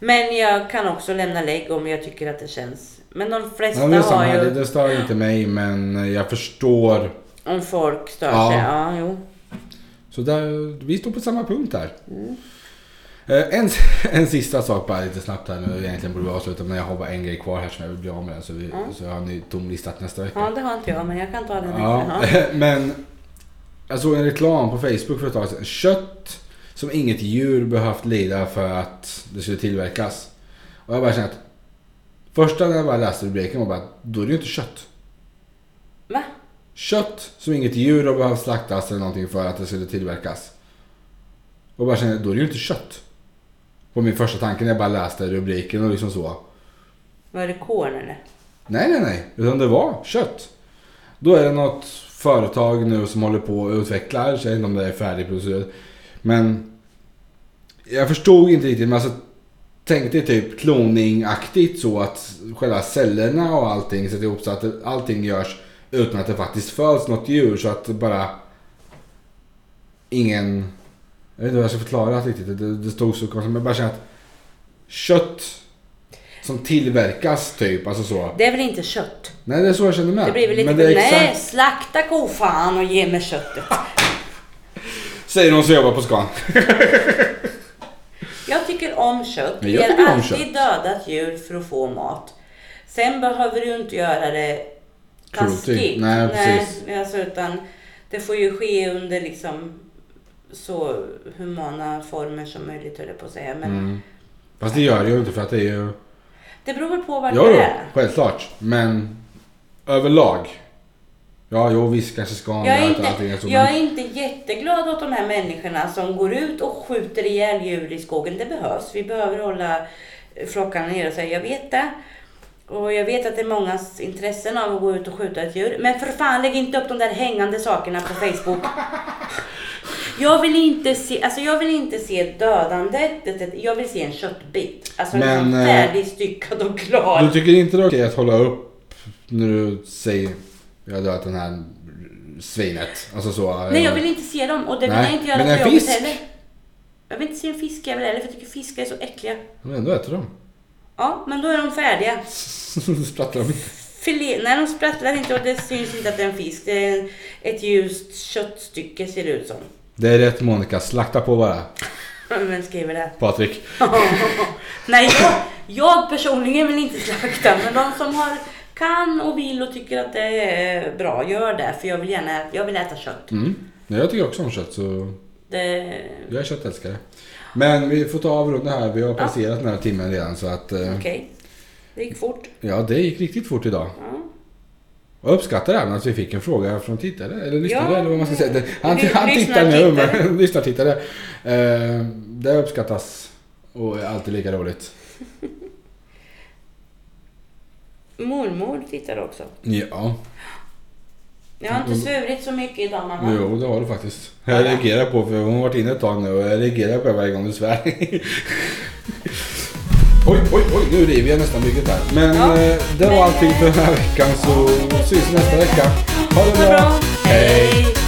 Speaker 2: Men jag kan också lämna lägg om jag tycker att det känns. Men de flesta
Speaker 1: Men det, är samma,
Speaker 2: har ju...
Speaker 1: det, det stör inte mig men jag förstår.
Speaker 2: Om folk stör
Speaker 1: Ja.
Speaker 2: sig. Ja, jo.
Speaker 1: Så där, vi står på samma punkt där.
Speaker 2: Mm.
Speaker 1: Eh, En, en sista sak bara lite snabbt här nu. Egentligen borde vi avsluta men jag har bara en grej kvar här som jag vill bli av med. Så, vi, så jag har en ny tom lista till nästa vecka.
Speaker 2: Mm. Ja, det har inte jag, men jag kan ta den
Speaker 1: Ja,
Speaker 2: nästa. Ja.
Speaker 1: men jag såg en reklam på Facebook för ett tag sedan. Kött som inget djur behövt lida för att det skulle tillverkas. Och jag bara kände att första när jag bara läste rubriken var bara att då är det ju inte kött.
Speaker 2: Va?
Speaker 1: Kött som inget djur har behövt slaktas eller någonting för att det skulle tillverkas. Och jag bara kände då är det ju inte kött. På min första tanke när jag bara läste rubriken och liksom så.
Speaker 2: Var det korn eller?
Speaker 1: Nej, nej, nej. Utan det var kött. Då är det något företag nu som håller på och utvecklar. Så jag vet inte om det är färdigproducerat. Men jag förstod inte riktigt. Men alltså, tänkte typ kloningaktigt så att själva cellerna och allting sätter ihop så att det- allting görs utan att det faktiskt föds något djur. Så att det bara ingen... Jag vet inte hur jag ska förklara det riktigt. Det, det stod så konstigt. Men jag bara känner att kött som tillverkas typ, alltså så.
Speaker 2: Det är väl inte kött?
Speaker 1: Nej, det är så jag känner med.
Speaker 2: Det blir väl lite...
Speaker 1: Men det är exakt,
Speaker 2: Nej, slakta kofan och ge mig köttet.
Speaker 1: säger någon som jobbar på Scan.
Speaker 2: Jag tycker om kött.
Speaker 1: Men jag
Speaker 2: Vi
Speaker 1: tycker
Speaker 2: har
Speaker 1: om
Speaker 2: alltid
Speaker 1: kött.
Speaker 2: dödat djur för att få mat. Sen behöver du ju inte göra det
Speaker 1: Cruelty.
Speaker 2: taskigt.
Speaker 1: Nej, precis.
Speaker 2: Nej, alltså, utan det får ju ske under liksom så humana former som möjligt, höll jag på att säga. Men
Speaker 1: Mm. Fast det gör det ju inte för att det är ju...
Speaker 2: det beror väl på vad
Speaker 1: Jo,
Speaker 2: det
Speaker 1: jo,
Speaker 2: är.
Speaker 1: självklart. Men överlag. Ja, jo visst kanske Scan
Speaker 2: Jag är,
Speaker 1: gör att allting är
Speaker 2: inte,
Speaker 1: så.
Speaker 2: jag
Speaker 1: Men,
Speaker 2: är inte jätteglad åt de här människorna som går ut och skjuter ihjäl djur i skogen. Det behövs. Vi behöver hålla flockarna nere och säga jag vet det. Och jag vet att det är mångas intressen av att gå ut och skjuta ett djur. Men för fan lägg inte upp de där hängande sakerna på Facebook. Jag vill inte se, alltså jag vill inte se dödandet. Det- det- Jag vill se en köttbit. Alltså
Speaker 1: Men,
Speaker 2: liksom
Speaker 1: eh,
Speaker 2: färdigstyckad och klar.
Speaker 1: Du tycker inte det är okej att hålla upp när du säger jag har dödat den här svinet. Alltså så.
Speaker 2: Nej, jag vill inte se dem och det vill
Speaker 1: Nej,
Speaker 2: jag inte göra
Speaker 1: men en
Speaker 2: på jobbet
Speaker 1: fisk?
Speaker 2: heller. Jag vill inte se en fiskjävel heller för jag tycker fiskar är så äckliga.
Speaker 1: Men ändå äter de.
Speaker 2: Ja, men då är de färdiga.
Speaker 1: Sprattlar de inte.
Speaker 2: Filé, nej, de sprattlar inte och det syns inte att det är en fisk. Det är ett ljust köttstycke ser det ut som.
Speaker 1: Det är rätt Monica, slakta på bara.
Speaker 2: Vem skriver det?
Speaker 1: Patrik.
Speaker 2: nej, jag, jag personligen vill inte slakta, men de som har, kan och vill och tycker att det är bra, gör det. För jag vill gärna jag vill äta kött.
Speaker 1: Mm. Nej, jag tycker också om kött så
Speaker 2: Det,
Speaker 1: jag är köttälskare. Men vi får ta avrunda här. Vi har passerat den här timmen redan så att... eh,
Speaker 2: Okej, det gick fort.
Speaker 1: Ja, det gick riktigt fort idag.
Speaker 2: Ja.
Speaker 1: Jag uppskattar även att alltså, vi fick en fråga från tittare, eller lyssnare
Speaker 2: Ja.
Speaker 1: eller vad man ska säga. Det- Han,
Speaker 2: Vi-
Speaker 1: han tittar
Speaker 2: lyssnar,
Speaker 1: nu,
Speaker 2: tittare.
Speaker 1: men lyssnar tittare. Eh, det uppskattas och är alltid lika roligt.
Speaker 2: Mormor tittade också.
Speaker 1: Ja,
Speaker 2: Jag har inte svurit så mycket idag mamma.
Speaker 1: Mm. jo det har du faktiskt. Jag reagerar på, för hon har varit inne ett tag nu och jag reagerar på det varje gång du svär. oj, oj, oj, nu river jag nästan bygget här. Men
Speaker 2: Ja.
Speaker 1: eh, det var
Speaker 2: Men,
Speaker 1: allting
Speaker 2: eh,
Speaker 1: för den här veckan så syns vi nästa vecka. Ha det
Speaker 2: Ha det
Speaker 1: bra!
Speaker 2: bra. Hej.